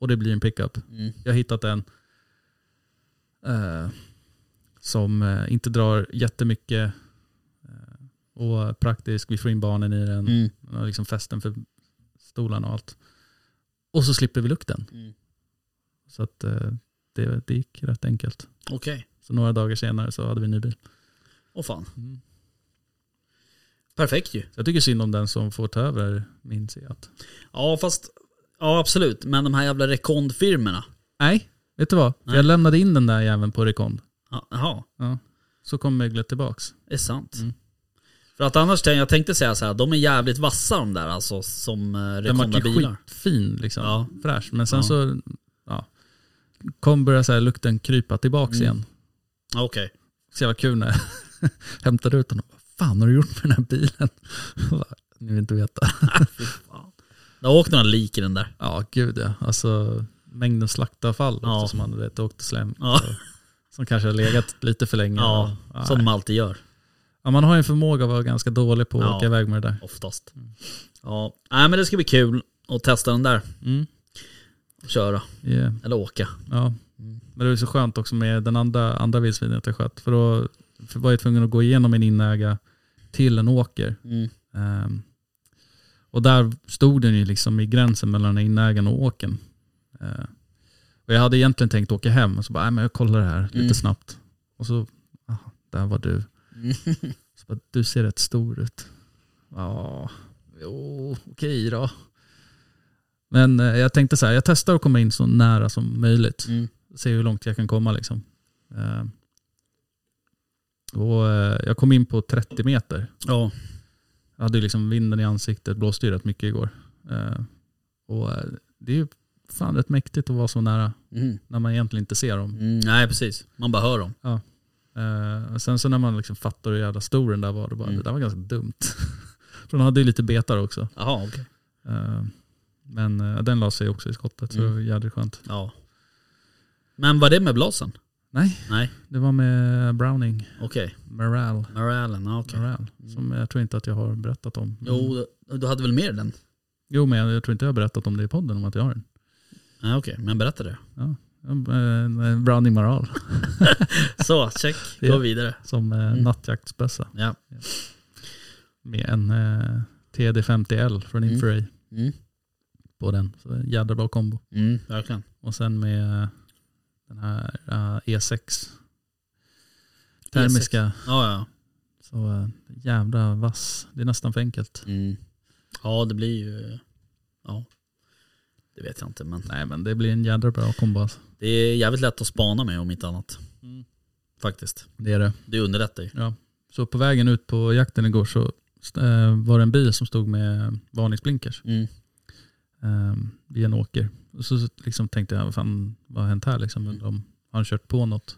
D: Och det blir en pickup.
C: Mm.
D: Jag har hittat en eh, som eh, inte drar jättemycket eh, och är praktisk. Vi får in barnen i den.
C: Mm.
D: Den har liksom fästen för stolarna och allt. Och så slipper vi lukten.
C: Mm.
D: Så att, eh, det, det gick rätt enkelt.
C: Okej.
D: Så några dagar senare så hade vi en ny bil.
C: Åh fan.
D: Mm.
C: Perfekt ju.
D: Så jag tycker synd om den som får ta över min Seat.
C: Ja, fast ja, absolut. Men de här jävla rekondfirmorna.
D: Nej, vet du vad?
C: Nej.
D: Jag lämnade in den där jäveln på Recond.
C: Ja, Jaha,
D: Så kom möglet tillbaks.
C: det är sant.
D: Mm.
C: För att annars tänkte jag tänkte säga så här, de är jävligt vassa de där alltså som eh,
D: Den var ju
C: rekondabilar.
D: skitfin liksom.
C: Ja.
D: Fräsch. Men sen
C: Ja.
D: så ja, kom börja så här lukten krypa tillbaks
C: Mm.
D: igen.
C: Ja, Okej.
D: Så jävla kul när jag hämtade ut den och bara, fan har du gjort med den här bilen? Jag bara, Ni vill inte veta.
C: Fy fan. Det har åkt några lik i den där.
D: Ja, gud ja. Alltså mängden slaktavfall
C: Ja.
D: också som man vet åkte slem.
C: Ja.
D: Så, som kanske har legat lite för länge.
C: Ja,
D: Nej.
C: som de alltid gör.
D: ja, man har ju en förmåga att vara ganska dålig på att
C: Ja.
D: åka iväg med det där.
C: Oftast. Ja, nej men det ska bli kul att testa den där
D: Mm.
C: och köra.
D: Yeah.
C: Eller åka.
D: Ja,
C: Mm.
D: Men det var ju så skönt också med den andra, andra vildsvinet jag sköt. För då för var jag tvungen att gå igenom en inäga till en åker.
C: Mm.
D: Ehm, och där stod den ju liksom i gränsen mellan inägan och åken. och jag hade egentligen tänkt åka hem och så bara, nej men jag kollar det här
C: Mm.
D: lite snabbt. Och så, aha, där var du. Så bara, du ser rätt stor ut. Ja, jo, okej då. Men eh, jag tänkte så här, jag testar att komma in så nära som möjligt.
C: Mm.
D: Se hur långt jag kan komma liksom. Eh, och eh, jag kom in på 30 meter.
C: Ja.
D: Jag hade ju liksom vinden i ansiktet, blåste ju rätt mycket igår. Eh, och eh, det är ju fan rätt mäktigt att vara så nära
C: Mm.
D: när man egentligen inte ser dem.
C: Mm. Nej, precis. Man bara hör dem.
D: Eh, och sen så när man liksom fattar hur jävla stor den där var, då bara,
C: Mm.
D: det där var ganska dumt. För den hade ju lite betar också.
C: Jaha, okej.
D: Eh, men eh, den la sig också i skottet, så
C: Mm.
D: det var jävligt skönt.
C: Ja. Men var det med blasen?
D: Nej,
C: Nej,
D: det var med Browning,
C: okej.
D: Morale.
C: Moralen, ja, okej.
D: Morale Som jag tror inte att jag har berättat om.
C: Mm. Jo, du hade väl mer den?
D: Jo, men jag, jag tror inte jag har berättat om det i podden, om att jag har den.
C: Ja, okej, men berätta det.
D: Eh, Browning Morale
C: Så, check. Gå
D: Ja.
C: vidare.
D: som eh,
C: Mm.
D: nattjaktsbössa.
C: Ja.
D: Med en eh, TD50L från
C: Mm.
D: Infrared
C: Mm.
D: på den. Så en jädra bra kombo.
C: Mm, verkligen.
D: Och sen med eh, den här eh,
C: E
D: E6. Termiska.
C: Ja, ja.
D: Så eh, jävla vass. Det är nästan för enkelt.
C: Mm. Ja, det blir ju... Ja. Det vet jag inte, men
D: Nej men det blir en jädra bra kombo alltså.
C: det är jävligt lätt att spana med om inte annat.
D: Mm.
C: Faktiskt.
D: Det är det.
C: Det underlättar ju.
D: Så på vägen ut på jakten igår så eh, var det en bil som stod med varningsblinkers
C: Mm.
D: eh, vid en åker. Och så, så liksom tänkte jag, vad fan vad har hänt här liksom? Undrar om har han kört på något?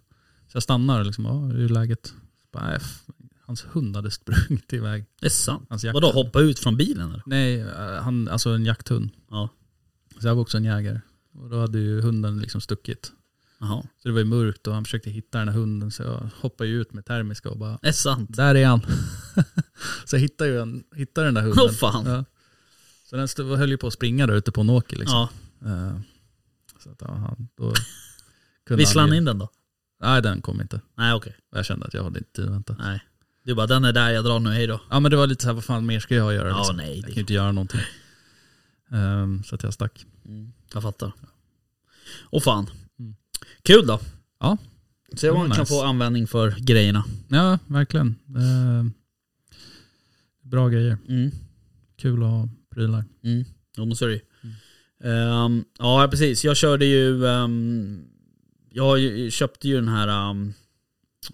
D: Så jag stannar och liksom, ja hur är läget? Så Bara, "Nej, f- hans hund hade sprungit iväg.
C: Det är sant.
D: Hans jakt-
C: Vadå, hoppa ut från bilen eller?
D: Nej, eh, han, alltså en jakthund.
C: Ja.
D: Så jag var också en jägare. Och då hade ju hunden liksom stuckit.
C: Jaha.
D: Så det var ju mörkt och han försökte hitta den här hunden så jag hoppade ju ut med termiska och bara
C: Det är sant.
D: Där är han. så jag hittade, ju en, hittade den där hunden.
C: Åh fan.
D: Ja. Så den stod, höll ju på att springa där ute på en åker. Liksom.
C: Ja.
D: Eh, Så att, ja, han, då kunde
C: Visslade han
D: ju-
C: in den då?
D: Nej, den kom inte.
C: Nej, okej.
D: Och Jag kände att jag hade inte tid att vänta.
C: Nej. Du bara, den är där, jag drar nu, hej då.
D: Ja, men det var lite så här, vad fan mer ska jag göra?
C: Ja,
D: liksom?
C: nej.
D: jag kan ju
C: Det,
D: inte göra någonting. Ehm, så att jag stack.
C: mm, jag fattar. Och fan.
D: Mm.
C: Kul då.
D: Ja.
C: Se
D: Det
C: vad
D: var
C: man kan
D: nice.
C: få användning för grejerna.
D: Ja, verkligen. Ehm, bra grejer.
C: Mm.
D: Kul att ha prylar.
C: Mm. Jo men så är det ju.
D: Mm.
C: Ehm, Ja precis, jag körde ju... ehm, jag har ju- köpte ju den här... ehm,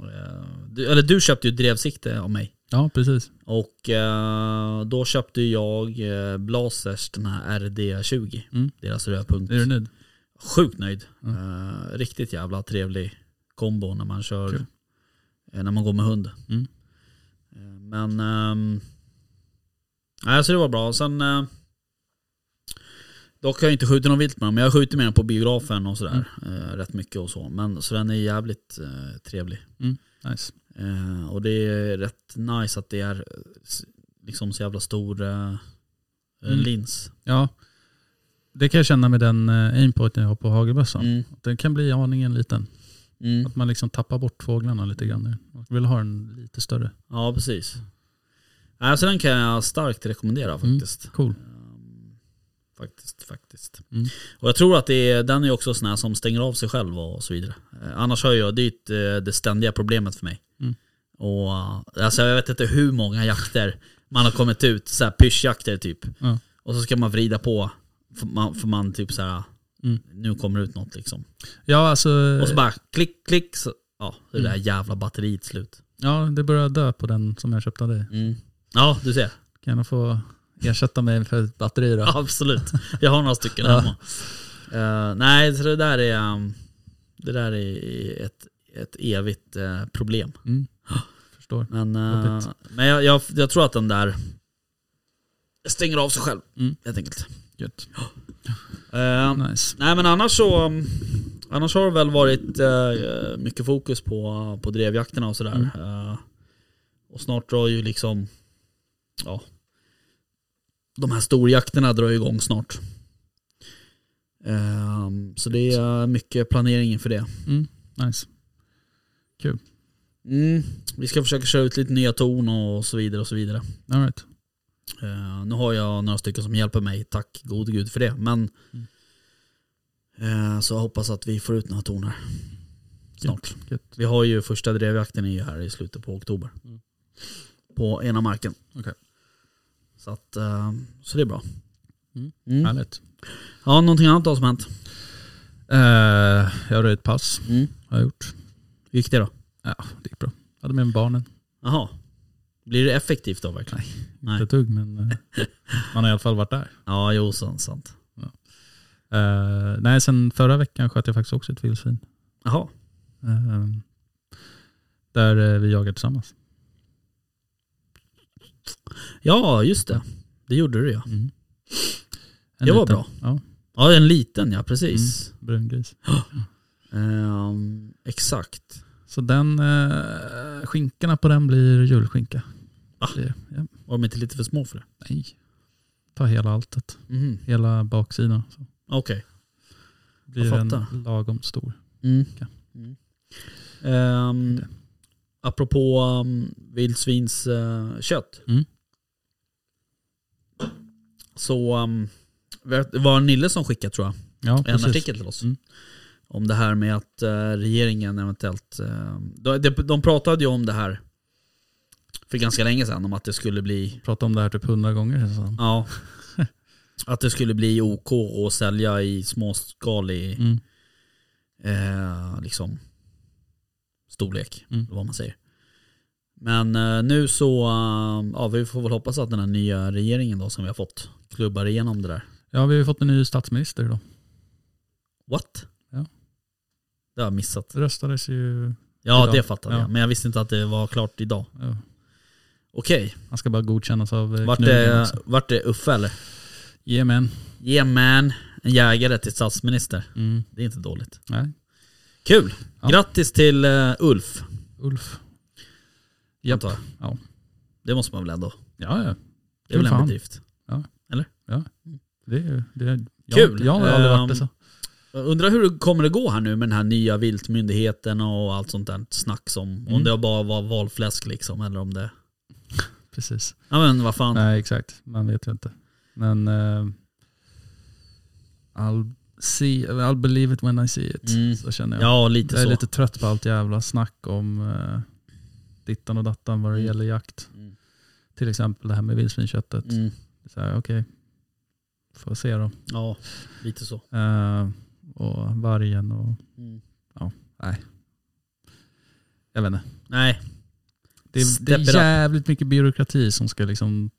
C: eh, du, eller du köpte ju ett drevsikte av mig.
D: Ja, precis.
C: Och eh, då köpte jag uh, Blasers, den här RD20.
D: Mm.
C: Deras rödpunkt.
D: Är du nöjd?
C: Sjukt nöjd.
D: Mm.
C: Eh, riktigt jävla trevlig kombo när man kör,
D: Kul.
C: eh, när man går med hund.
D: Mm.
C: Eh, men, ehm, nej så det var bra. Sen, uh, dock har jag inte skjutit någon vilt med den, men jag skjuter med den på biografen och sådär.
D: Mm.
C: eh, rätt mycket och så. Men, så den är jävligt eh, trevlig.
D: Nice.
C: Eh, och det är rätt nice att det är eh, s- liksom så jävla stor eh, eh,
D: Mm.
C: lins.
D: Ja, det kan jag känna med den eh, aimpointen jag har på hagelbössan.
C: Mm.
D: Att Den kan bli aningen liten.
C: Mm.
D: Att man liksom tappar bort fåglarna lite grann. Man vill ha den lite större.
C: Ja, precis. Nej, så den kan jag starkt rekommendera faktiskt.
D: Mm, Cool.
C: Ehm, Faktiskt, faktiskt.
D: Mm.
C: Och jag tror att det är, den är också sån här som stänger av sig själv och så vidare. Eh, Annars har jag, det är ett, eh, det ständiga problemet för mig.
D: Mm.
C: Och, eh, alltså jag vet inte hur många jakter man har kommit ut, så här pyschjakter typ.
D: Ja.
C: Och så ska man vrida på, för man, för man typ så här
D: Mm.
C: nu kommer det ut något liksom.
D: Ja, alltså,
C: Och så bara klick, klick, så, ja, så är det
D: Mm.
C: där jävla batteriet slut.
D: ja, det börjar dö på den som jag köpte av dig.
C: Ja, du ser.
D: Kan jag få ersätta mig för ett batteri då?
C: Ja, Absolut. Jag har några stycken
D: Ja.
C: hemma. Eh, nej, så det där är, um, det där är ett, ett evigt eh, problem.
D: Mm. Förstår.
C: Men, eh,
D: Jobbigt.
C: men jag, jag, jag tror att den där stänger av sig själv
D: Mm.
C: helt enkelt.
D: Gött.
C: Eh,
D: Nice.
C: Nej men annars så um, Annars har det väl varit eh, mycket fokus på, på drevjakterna och sådär. Eh, och snart drar ju liksom Ja De här storjakterna drar ju igång snart. Ehm, så det är mycket planering inför det.
D: Mm, nice.
C: Mm, vi ska försöka köra ut lite nya ton och så vidare och så vidare.
D: All right.
C: Eh, nu har jag några stycken som hjälper mig, tack gode gud för det. Men
D: Mm.
C: eh, så jag hoppas att vi får ut några toner snart.
D: Gött.
C: Vi har ju första drevjakten är ju här i slutet på oktober.
D: Mm.
C: På ena marken.
D: Okej.
C: Så, att, eh, så det är bra.
D: Mm.
C: Mm.
D: Härligt.
C: Ja, någonting annat då som hänt?
D: Eh, jag röjde ett pass.
C: Mm.
D: Har jag gjort.
C: Hur gick det då?
D: Ja, det gick bra. Hade med mig barnen.
C: Jaha. Blir det effektivt då verkligen? Nej.
D: Inte ett dugg, men eh, man har i alla fall varit där.
C: Ja, jo, sant. sant.
D: Eh, nej, sen förra veckan sköt jag faktiskt också ett vildsvin.
C: Jaha.
D: Eh, där eh, vi jagar tillsammans.
C: Ja, just det. Det gjorde du ja.
D: Mm.
C: Det var bra.
D: Ja,
C: Ja, en liten ja, precis.
D: brungris. Mm.
C: Ehm, exakt.
D: Så den, eh, skinkorna på den blir julskinka.
C: Va?
D: Blir det. Ja.
C: Var de inte lite för små för det?
D: Nej. Ta hela alltet.
C: Mhm.
D: Hela baksidan. Så
C: Okej.
D: blir
C: Jag
D: den
C: fattar.
D: lagom stor.
C: Mm.
D: Okej.
C: Mm. Ehm, apropå um, vildsvins eh, kött.
D: Mm.
C: Så um, vet- det var Nille som skickade tror jag,
D: Ja,
C: en artikel till oss.
D: Mm.
C: Om det här med att eh, regeringen eventuellt... eh, de, de, de pratade ju om det här för ganska länge sedan, om att det skulle bli...
D: Prata om det här typ hundra gånger känns det som.
C: Ja, att det skulle bli OK att sälja i småskalig...
D: Mm.
C: eh, liksom storlek,
D: Mm.
C: vad man säger. Men eh, nu så, eh, ja vi får väl hoppas att den här nya regeringen då som vi har fått klubbar igenom det där.
D: Ja, vi har ju fått en ny statsminister då.
C: What?
D: Ja.
C: Det har jag missat.
D: Det röstades ju...
C: Ja
D: Idag.
C: det fattade
D: Ja.
C: jag, men jag visste inte att det var klart idag.
D: Ja.
C: Okej,
D: Han ska bara godkännas av eh,
C: vart,
D: Knugen
C: det,
D: också.
C: vart det Uffe eller?
D: Jajamän.
C: Yeah man, en jägare till statsminister.
D: Mm.
C: Det är inte dåligt.
D: Nej,
C: Kul!
D: Ja.
C: Grattis till eh, Ulf.
D: Ulf. Japp.
C: antar jag.
D: Ja.
C: Det måste man väl ändå.
D: Ja, ja.
C: Det är väl
D: för
C: en
D: han.
C: bedrift.
D: Det är, det är, jag,
C: Kul.
D: Jag har aldrig varit det
C: Ehm,
D: så.
C: Jag Undrar hur det kommer det gå här nu med den här nya viltmyndigheten och allt sånt där snack som, om
D: Mm.
C: det bara var valfläsk liksom eller om det...
D: Precis.
C: Ja men vad fan.
D: Nej, exakt. Man vet ju inte. Men... eh, I'll, see, I'll believe it when I see it.
C: Mm.
D: Så känner jag.
C: Ja lite
D: jag är
C: så.
D: lite trött på allt jävla snack om eh, dittan och dattan vad det
C: Mm.
D: gäller jakt.
C: Mm.
D: Till exempel det här med vildsvinsköttet.
C: Mm.
D: Så här, Okej, får se då.
C: Ja, lite så.
D: Eh, och vargen och
C: Mm.
D: jag vet inte.
C: Nej,
D: Det är, det
C: Step it up.
D: är jävligt mycket byråkrati som ska liksom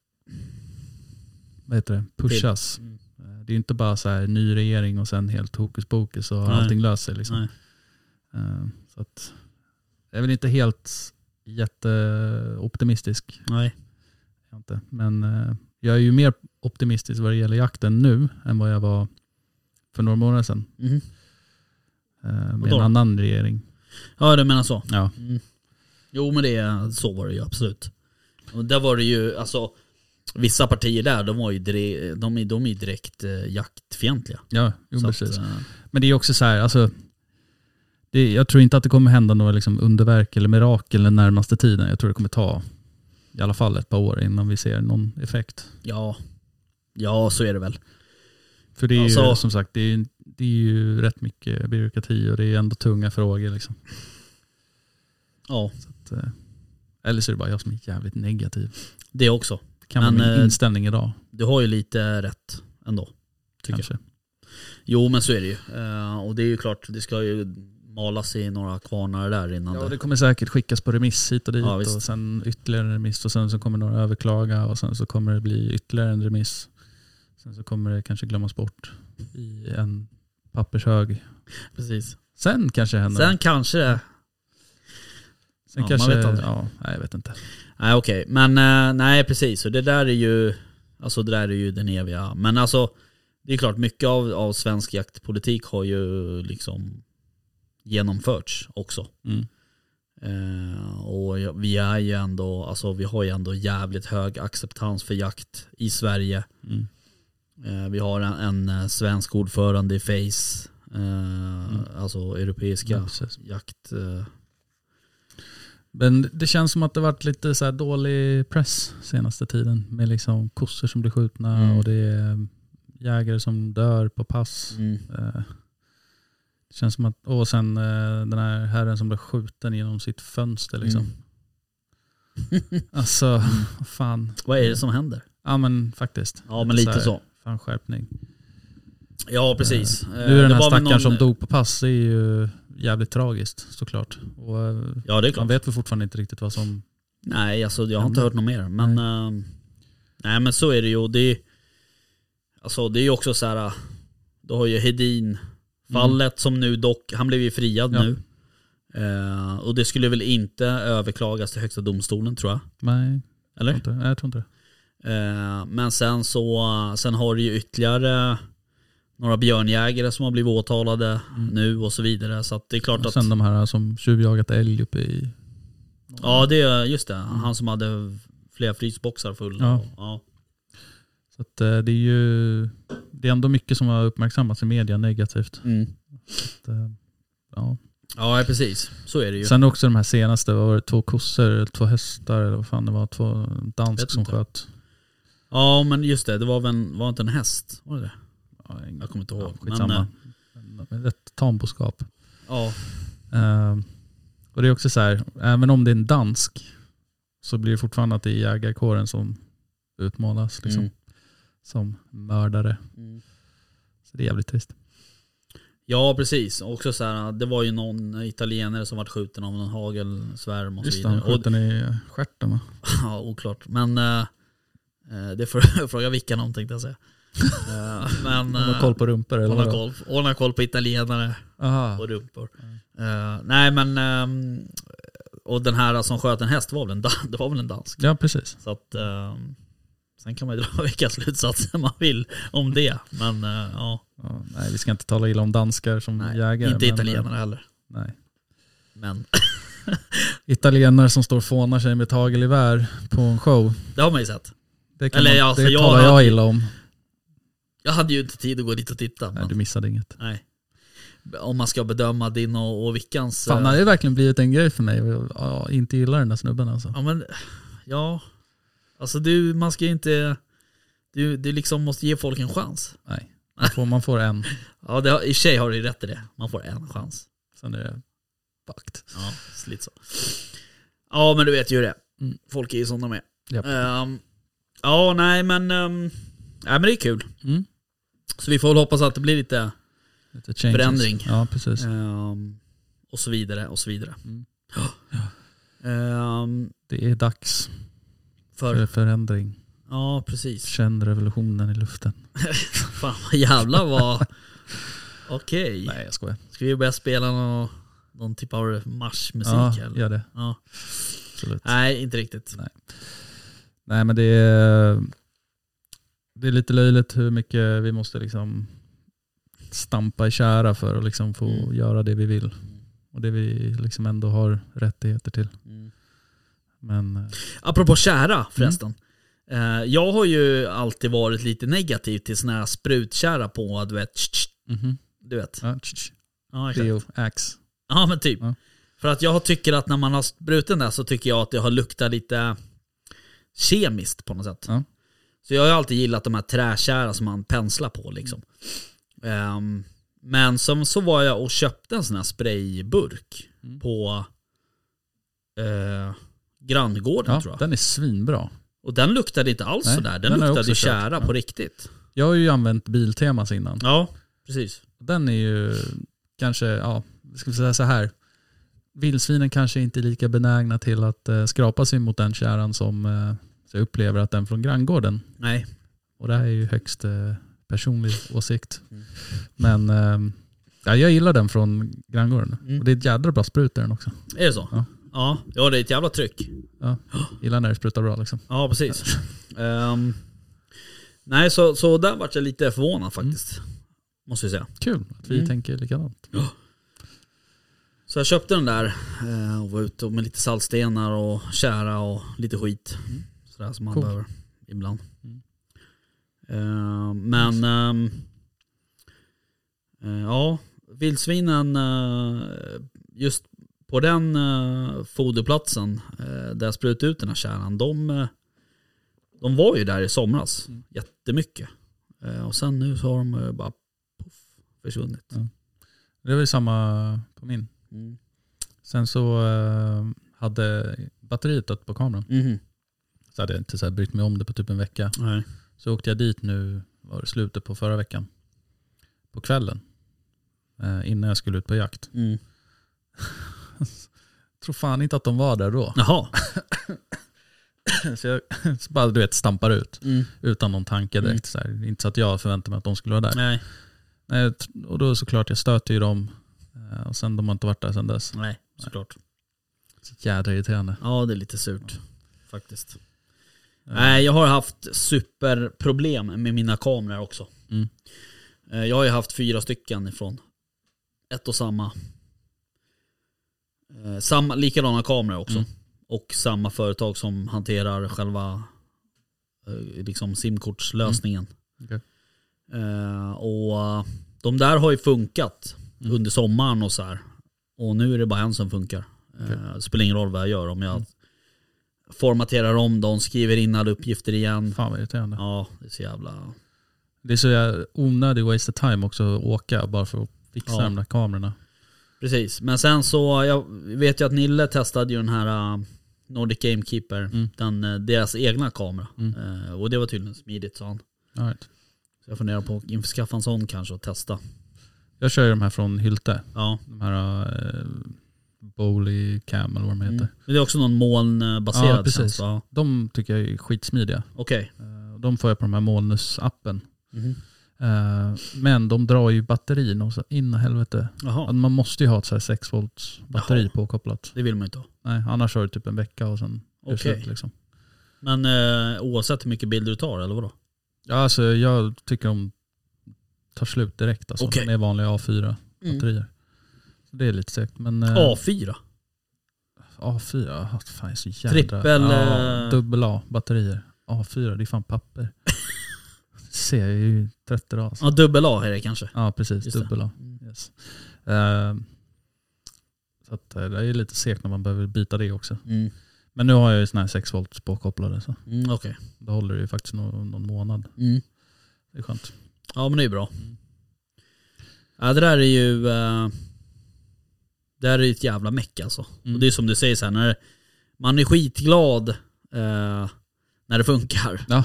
D: vad heter det, pushas.
C: Mm.
D: Eh, Det är inte bara så här ny regering och sen helt hokus pokus och
C: Nej.
D: allting löser sig. Liksom.
C: nej.
D: Eh, Så att, jag är väl inte helt jätteoptimistisk.
C: nej.
D: är jag inte. Men eh, jag är ju mer optimistisk vad det gäller jakten nu än vad jag var för några månader sedan.
C: Mhm.
D: eh, Med
C: då?
D: en annan regering.
C: Ja du menar så.
D: Ja.
C: Mm. Jo men det, så var det ju absolut. Och där var det ju, alltså vissa partier där de var ju dire, de, är- de är ju direkt eh, jaktfientliga.
D: Ja, jo,
C: Så att,
D: precis.
C: eh,
D: Men det är också så här, alltså, det, jag tror inte att det kommer hända några liksom underverk eller mirakel den närmaste tiden. Jag tror det kommer ta i alla fall ett par år innan vi ser någon effekt.
C: ja. ja, så är det väl.
D: För det är
C: Alltså-
D: ju som sagt, det är, ju- det är ju rätt mycket byråkrati och det är ändå tunga frågor. Liksom.
C: Ja,
D: Att, eh, eller så är det bara jag som är jävligt negativ.
C: det också.
D: Det kan
C: Men,
D: vara min
C: eh,
D: inställning idag
C: Du har ju lite rätt ändå. Tycker jag.
D: kanske.
C: Jo men så är det ju. Eh, och det är ju klart, det ska ju malas i några kvarnar där innan
D: Ja,
C: det...
D: det kommer säkert skickas på remiss hit och dit
C: Ja, visst.
D: och sen ytterligare en remiss och sen så kommer några överklaga och sen så kommer det bli ytterligare en remiss. Sen så kommer det kanske glömmas bort i en pappershög.
C: Precis.
D: Sen kanske det händer.
C: Sen kanske det...
D: sen
C: ja,
D: kanske,
C: man vet aldrig.
D: ja, nej, jag vet inte.
C: Nej okej, men eh, nej precis. Och det där är ju... Alltså det där är ju den eviga... Men alltså, det är klart mycket av, av svensk jaktpolitik har ju liksom genomförts också.
D: Mm.
C: Eh, och jag- vi är ju ändå, alltså vi har ju ändå jävligt hög acceptans för jakt i Sverige.
D: Mm.
C: Eh, Vi har en, en eh, svensk ordförande i FACE, eh, alltså europeiska
D: Ja, precis.
C: jakt... eh,
D: Men det känns som att det varit lite så här dålig press senaste tiden. Med liksom kossor som blir skjutna
C: Mm.
D: och det är jägare som dör på pass.
C: mm.
D: Eh, Det känns som att, och sen eh, den här herren som blev skjuten genom sitt fönster liksom.
C: Mm.
D: Alltså, vad fan.
C: Vad är det som händer?
D: Ja men faktiskt.
C: Ja men lite
D: här,
C: så.
D: Fan skärpning.
C: Ja precis. Eh,
D: Nu är den
C: det
D: här
C: var väl
D: stackaren
C: någon-
D: som dog på pass, det är ju jävligt tragiskt såklart. Och eh,
C: Ja det är
D: man
C: klart.
D: vet väl fortfarande inte riktigt vad som...
C: Nej, alltså jag har inte hört något mer. Men, nej. nej men så är det ju. Och Det är, alltså det är ju också så här, du har ju Hedin-fallet som nu dock, han blev ju friad
D: Ja.
C: nu. Eh, och det skulle väl inte överklagas till högsta domstolen tror jag.
D: Nej, jag tror
C: Eller?
D: inte, nej, jag tror inte det.
C: Eh, men sen så, sen har det ju ytterligare några björnjägare som har blivit åtalade nu och så vidare. Så att det är klart
D: Och
C: att,
D: sen de här som tjuvjagat älg uppe i...
C: ja det är just det. Han som hade flera frysboxar fulla.
D: Mm. Ja.
C: Och, ja.
D: Så att eh, det är ju... Det är ändå mycket som har uppmärksammats i media negativt.
C: Mm.
D: Så, att, eh, ja.
C: Ja, precis. Så är det ju.
D: Sen också de här senaste, vad var det, två kossor, eller två hästar eller vad fan det var, två dansk
C: Vet
D: som
C: inte.
D: sköt.
C: Ja, men just det. Det var väl en, var inte en häst? Var det det?
D: Ja, en-
C: Jag kommer inte ihåg.
D: ja, skitsamma.
C: Men, eh,
D: Men, Ett tamboskap.
C: ja.
D: Eh, och det är också så här, även om det är en dansk så blir det fortfarande att det är jägarkåren som utmålas liksom,
C: Mm.
D: som mördare.
C: Mm.
D: Så det är jävligt trist.
C: ja, precis. Också så här, det var ju någon italienare som vart skjuten av någon hagelsvärm och så
D: Just det, han
C: vidare. Och,
D: sköt den i stjärten va?
C: ja, oklart. Men eh, eh, det får jag fråga Vickan om tänkte jag säga. Eh, men
D: Han har
C: eh,
D: koll på rumpor eller
C: hon har
D: vadå?
C: koll, hon har koll på italienare
D: Aha.
C: och rumpor. Eh, nej, men ehm, och den här som sköt en häst var väl en, dan- det var väl en dansk?
D: Ja precis.
C: Så att, ehm, sen kan man ju dra vilka slutsatser man vill om det. Men eh, ja,
D: Ja, nej vi ska inte tala illa om danskar som
C: nej,
D: jägare.
C: inte
D: men, eh,
C: italienare heller.
D: Nej.
C: Men
D: Italienare som står och fånar sig med ett hagelgevär på en show.
C: det har man ju sett.
D: Det, kan
C: Eller
D: man,
C: ja, alltså,
D: det
C: jag
D: talar jag
C: hade-
D: illa om.
C: Jag hade ju inte tid att gå dit och titta.
D: Nej,
C: Men,
D: du missade inget.
C: nej. Om man ska bedöma din och, och Vickans...
D: Fan, det
C: eh,
D: har ju verkligen blivit en grej för mig att ja, inte gilla den där snubben alltså.
C: ja, men, ja, alltså du, man ska ju inte... Du, du liksom måste ge folk en chans.
D: Nej, man får, man får en.
C: Ja, det, har- i och för sig har du ju rätt i det. Man får en chans.
D: Sen är det fucked.
C: Ja, så lite så. Ja, men du vet ju hur det är.
D: Mm.
C: Folk är ju som de är.
D: Japp.
C: Ehm, ja, nej men, um, nej men det är kul.
D: Mm.
C: Så vi får väl hoppas att det blir lite
D: Lite changes.
C: Förändring.
D: Ja, precis.
C: ehm, och så vidare och så vidare.
D: Mm.
C: Ja. Ehm,
D: Det är dags för
C: för,
D: förändring.
C: ja precis.
D: Känn revolutionen i luften.
C: Fan vad jävlar vad... Okej,
D: Nej, jag skojar.
C: ska vi börja spela någon, någon typ av marschmusik?
D: Ja,
C: eller?
D: gör det.
C: Ja.
D: Absolut.
C: Nej, inte riktigt.
D: Nej, men det är, det är lite löjligt hur mycket vi måste liksom stampa i kära för att liksom få
C: Mm.
D: göra det vi vill. Och det vi liksom ändå har rättigheter till.
C: Mm.
D: Men eh,
C: Apropå
D: Mm.
C: kära förresten. Eh, jag har ju alltid varit lite negativ till såna här sprutkära på, du vet. tsch, tsch,
D: mhm.
C: Du vet.
D: ja, tsch, tsch.
C: Ja, exakt.
D: Theo, ax.
C: Ja men typ.
D: Ja.
C: För att jag tycker att när man har bruten där så tycker jag att det har luktat lite kemiskt på något sätt.
D: Ja.
C: Så jag har ju alltid gillat de här träkära som man penslar på liksom. Ehm, men som så var jag och köpte en sån här sprayburk
D: Mm.
C: på eh, granngården tror
D: Ja,
C: jag.
D: den är svinbra.
C: Och den luktade inte alls
D: Nej,
C: sådär. Den,
D: den har jag
C: luktade
D: också
C: ju
D: köpt.
C: kära
D: Ja.
C: på riktigt.
D: Jag har ju använt Biltemas innan.
C: Ja, precis.
D: Den är ju kanske, ja, ska vi säga så här. Vildsvinen kanske inte är lika benägna till att eh, skrapa sig mot den käran som eh, jag upplever att den från granngården.
C: Nej.
D: Och det här är ju högst eh, personlig åsikt.
C: Mm.
D: Men eh, ja, jag gillar den från granngården.
C: Mm.
D: Och det är ett jädra bra sprut i den också.
C: Är det så?
D: Ja.
C: Ja, ja det är ett jävla tryck.
D: Gillar när det sprutar bra liksom.
C: Ja, precis. Ehm, nej, så, så där vart jag lite förvånad faktiskt. Måste jag säga.
D: Kul att vi
C: Mm.
D: tänker likadant.
C: Så jag köpte den där eh, och var ute med lite saltstenar och kära och lite skit. Sådär som man
D: Cool.
C: behöver ibland.
D: Mm.
C: Eh, men ehm, eh, ja, vildsvinen eh, just på den eh, foderplatsen eh, där jag sprutade ut den här kärnan, de, eh, de var ju där i somras
D: Mm.
C: jättemycket. Eh, och sen nu så har de eh, bara puff, försvunnit.
D: Ja. Det var ju samma på min.
C: Mm.
D: Sen så eh, hade batteriet dött på kameran.
C: Mhm.
D: Så hade jag inte så här brytt mig om det på typ en vecka.
C: Nej.
D: Så åkte jag dit nu, var det slutet på förra veckan. På kvällen. Eh, innan jag skulle ut på jakt.
C: Mm.
D: Tror fan inte att de var där då.
C: Jaha.
D: Så jag så bara du vet stampar ut.
C: Mm.
D: Utan någon tanke direkt. Så här. Inte så att jag förväntade mig att de skulle vara där.
C: Nej.
D: Nej, tr- och då såklart jag stöter ju dem. Eh, och sen de har inte varit där sen dess.
C: Nej, såklart.
D: Så jädra irriterande.
C: Ja, det är lite surt faktiskt. Nej, jag har haft superproblem med mina kameror också.
D: Mm.
C: Eh, Jag har ju haft fyra stycken ifrån ett och samma. eh, samma likadana kameror också.
D: Mm.
C: Och samma företag som hanterar själva eh, liksom simkortslösningen.
D: Mm. Okej.
C: Eh, Och de där har ju funkat
D: Mm.
C: under sommaren och så här. Och nu är det bara en som funkar. Eh, Det spelar ingen roll vad jag gör om
D: Mm.
C: jag formaterar om dem, skriver in alla uppgifter igen.
D: Fan vad irriterande.
C: Ja, det är så jävla...
D: Det är så jag onödig waste of time också att åka bara för att fixa
C: Ja.
D: de där kamerorna.
C: Precis, men sen så, jag vet ju att Nille testade ju den här äh, Nordic Gamekeeper,
D: Mm.
C: den, äh, deras egna kamera.
D: Mm.
C: Eh, och det var tydligen smidigt sa han.
D: All right.
C: Så jag funderar på att införskaffa en sån kanske och testa.
D: Jag kör ju de här från Hylte.
C: Ja.
D: De här eh, Bowley Cam eller vad de heter.
C: Mm. Men det är också någon molnbaserad
D: Ja, precis.
C: tjänst, va?
D: De tycker jag är skitsmidiga.
C: Okej.
D: Eh, De får jag på de här Molnus-appen.
C: Mhm.
D: Eh, Men de drar ju batterin och så in i helvete.
C: Jaha,
D: Man måste ju ha ett så här 6 volts batteri
C: Jaha.
D: påkopplat.
C: det vill man ju inte ha.
D: Nej, annars har du typ en vecka och sen är det
C: Okej.
D: slut liksom.
C: Men eh, oavsett hur mycket bilder du tar eller vadå?
D: Ja, alltså, jag tycker de tar slut direkt alltså,
C: Okej.
D: med vanliga A4-batterier.
B: Mm.
D: Så Det är lite segt. Men, eh,
C: A4?
D: A4, ja, ah, fan jag är så jävla...
C: Trippel,
D: Ja,
C: eh,
D: dubbel A-batterier. A4, det är fan papper. ser jag är ju trött idag alltså.
C: Ja, dubbel A är det kanske.
D: Ja precis,
C: Just det.
D: dubbel A.
C: Mm.
D: Yes. Eh, så att, eh, det är lite segt när man behöver byta det också.
C: Mm.
D: Men nu har jag ju sån här 6 volts påkopplade så
C: Mm, Okej.
D: då håller det ju faktiskt någon, någon månad.
C: Mm.
D: Det är skönt.
C: Ja men det är bra.
D: Mm.
C: Ja, det där är ju... eh, det där är ju ett jävla meck alltså.
D: Mm.
C: Och det är som du säger så här, när man är skitglad eh, när det funkar.
D: Ja.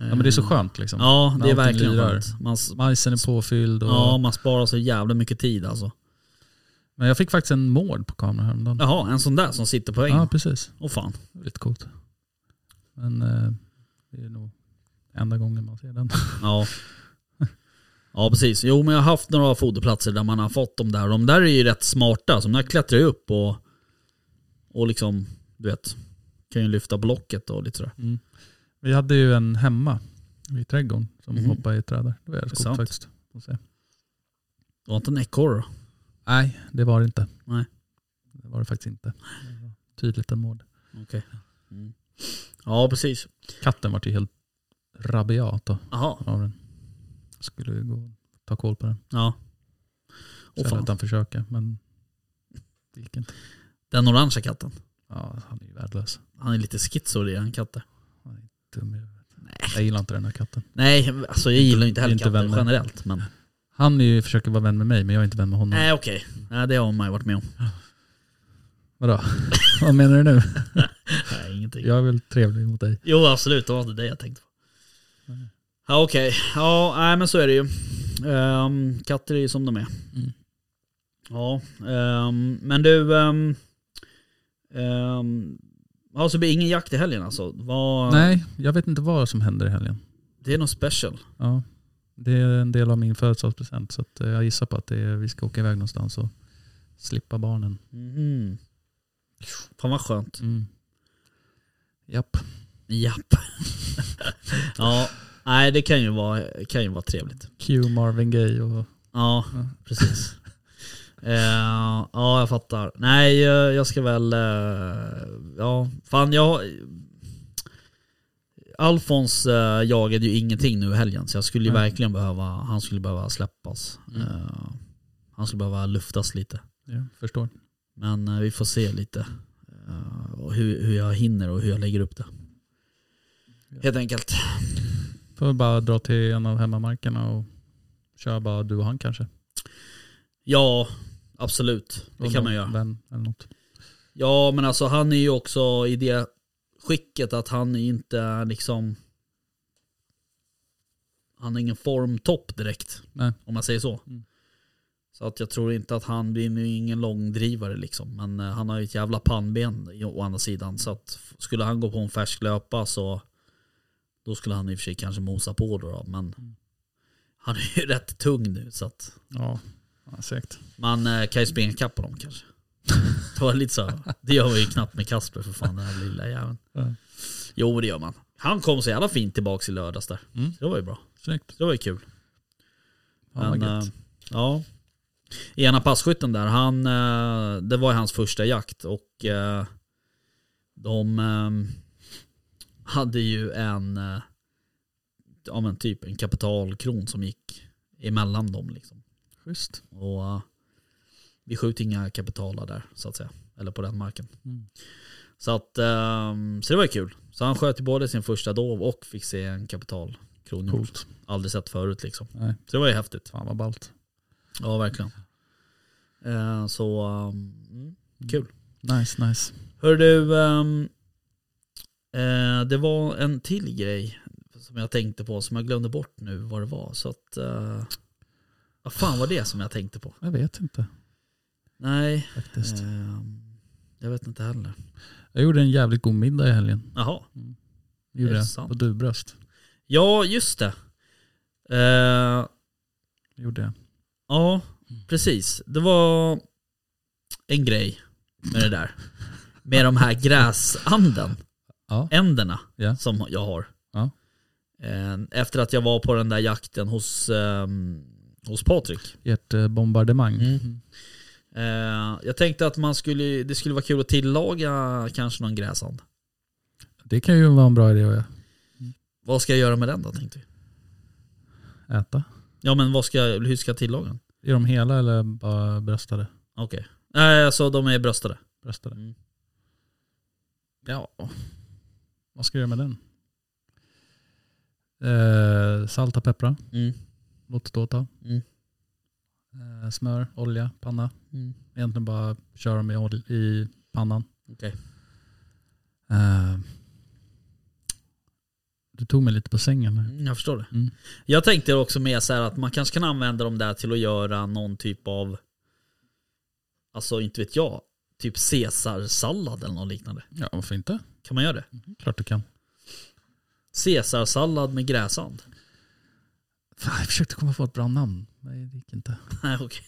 D: Ja men det är så
C: Eh,
D: skönt liksom.
C: Ja det
D: När
C: är
D: allting
C: verkligen
D: lirar.
C: skönt. Man, s-
D: Majsen är påfylld och...
C: ja, man sparar så jävla mycket tid alltså.
D: Men jag fick faktiskt en mård på kameran häromdagen.
C: Jaha, en sån där som sitter på ängen.
D: ja
C: Åh
D: precis.
C: fan.
D: Det var lite coolt. Men eh, det är nog enda gången man ser den.
C: Ja. Ja precis. Jo men jag har haft några foderplatser där man har fått de där. De där är ju rätt smarta. Så de där klättrar ju upp och, och liksom, du vet, kan ju lyfta blocket och lite sådär.
D: Vi hade ju en hemma i trädgården som
C: Mhm.
D: hoppade i ett träd. där. Det var
C: Det är
D: jävligt coolt
C: sant.
D: faktiskt. att se.
C: Det var inte en ekorre då?
D: Nej, det var det inte.
C: Nej.
D: Det var det faktiskt inte. Det var tydligt en mord.
C: Ja precis.
D: Katten var ju helt rabiat då,
C: Jaha.
D: av den. Skulle ju gå och ta koll på den.
C: Ja.
D: Så
C: Åh
D: jag
C: fan.
D: lät han försöka men det gick inte.
C: Den orangea katten.
D: Ja, han är ju värdelös.
C: Han är lite schizo det, han katten.
D: Dum i huvudet. Jag gillar inte den här katten.
C: Nej, alltså jag gillar ju inte Mm. heller
D: Inte
C: katter
D: vänner.
C: generellt. Men...
D: Han är ju, försöker vara vän med mig men jag är inte vän med honom.
C: Nej okej, Nej, det har man ju varit med om.
D: Vadå? Vad menar du nu?
C: Nej, ingenting.
D: Jag är väl trevlig mot dig.
C: Jo absolut, det var inte det jag tänkte på. Ja okej, ja nej, men så är det ju. Ehm, katter är ju som de är.
D: Mm.
C: Ja, ehm, men du. Um, um, ja, så blir det ingen jakt i helgen alltså? Vad-
D: Nej, jag vet inte vad som händer i helgen.
C: Det är något special.
D: Ja, det är en del av min födelsedagspresent så att eh, jag gissar på att det är, vi ska åka iväg någonstans och slippa barnen.
C: Mhm. Fan vad skönt.
D: Mm. Japp.
C: Japp. ja, nej det kan ju vara, kan ju vara trevligt.
D: Q Marvin Gaye och...
C: Ja,
D: Ja.
C: precis. Eh, ja, jag fattar. Nej, eh, jag ska väl... eh, ja, fan jag... Alfons eh, jagade ju ingenting nu i helgen så jag skulle ju
D: Nej.
C: verkligen behöva, han skulle behöva släppas. Eh, han skulle behöva luftas lite.
D: Ja, förstår.
C: Men eh, vi får se lite eh, och hur, hur jag hinner och hur jag lägger upp det. Helt enkelt.
D: Får vi bara dra till en av hemmamarkerna och köra bara du och han kanske.
C: Ja, absolut. Det
D: Och
C: kan
D: någon
C: man göra.
D: Vän eller något.
C: Ja, men alltså han är ju också i det skicket att han är inte liksom... Han har ingen formtopp direkt,
D: Nej.
C: om man säger så.
D: Mm.
C: Så att jag tror inte att han blir nu ingen långdrivare liksom. Men eh, han har ju ett jävla pannben i- å andra sidan. Så att f- skulle han gå på en färsk löpa så då skulle han i och för sig kanske mosa på då. då men
D: Mm.
C: han är ju rätt tung nu så att
D: Ja, ja säkert.
C: man eh, kan ju springa ikapp på dem kanske. Det, var lite så. det gör vi ju knappt med Kasper för fan den här lilla jäveln.
D: Ja.
C: Jo det gör man. Han kom så jävla fint tillbaks i lördags där.
D: Mm.
C: Så Det var ju bra.
D: Snyggt.
C: Så Det var ju kul.
D: Ja, vad
C: eh,
D: gött.
C: ja. Ena passkytten där, han, eh, det var ju hans första jakt och eh, de eh, hade ju en, eh, ja men typ en kapitalkron som gick emellan dem liksom.
D: Schysst.
C: Och eh, vi skjuter inga kapitaler där så att säga. Eller på den marken.
D: Mm.
C: Så, att, ehm, så det var ju kul. Så han sköt ju både sin första dov och fick se en kapital.
D: Coolt.
C: Aldrig sett förut liksom.
D: Nej.
C: Så det var ju häftigt.
D: Fan vad ballt.
C: Ja verkligen. Eh, så ehm, mm, kul.
D: Nice, nice.
C: Hör du, ehm, eh, det var en till grej som jag tänkte på som jag glömde bort nu vad det var. Så att, eh, vad fan var det som jag tänkte på?
D: Jag vet inte
C: Nej,
D: faktiskt.
C: Ehm, Jag vet inte heller.
D: Jag gjorde en jävligt god middag i helgen.
C: Jaha.
D: Gjorde
C: Är det
D: jag.
C: sant?
D: På dubröst.
C: Ja, just det. Eh,
D: Gjorde jag.
C: ja, precis. Det var en grej med det där. Med de här gräsanden,
D: Ja.
C: änderna
D: Ja.
C: som jag har.
D: Ja.
C: Eh, Efter att jag var på den där jakten hos, ehm, hos Patrik.
D: Ert eh, bombardemang.
C: Mm. Eh, Jag tänkte att man skulle, det skulle vara kul att tillaga kanske någon gräsand.
D: Det kan ju vara en bra idé att
C: Vad ska jag göra med den då tänkte vi?
D: äta.
C: Ja men vad ska, jag- hur ska jag tillaga den?
D: Är de hela eller bara bröstade?
C: Okej. Nej, alltså de är bröstade.
D: bröstade.
C: Mm.
D: Ja, vad ska jag göra med den? Eh, salta, peppra,
C: Mm.
D: låt det stå ett tag.
C: Mm.
D: Eh, smör, olja, panna.
C: Mm.
D: Egentligen bara köra dem i, ol- i pannan.
C: Okej.
D: Eh, du tog mig lite på sängen. här.
C: Mm, Jag förstår det.
D: Mm.
C: Jag tänkte också mer så här att man kanske kan använda dem där till att göra någon typ av, alltså inte vet jag, typ caesarsallad eller något liknande.
D: Ja, varför inte?
C: Kan man göra det?
D: Klart du kan.
C: Caesarsallad med gräsand?
D: Fan, jag försökte komma på ett bra namn. Nej, det gick inte.
C: Nej, okej.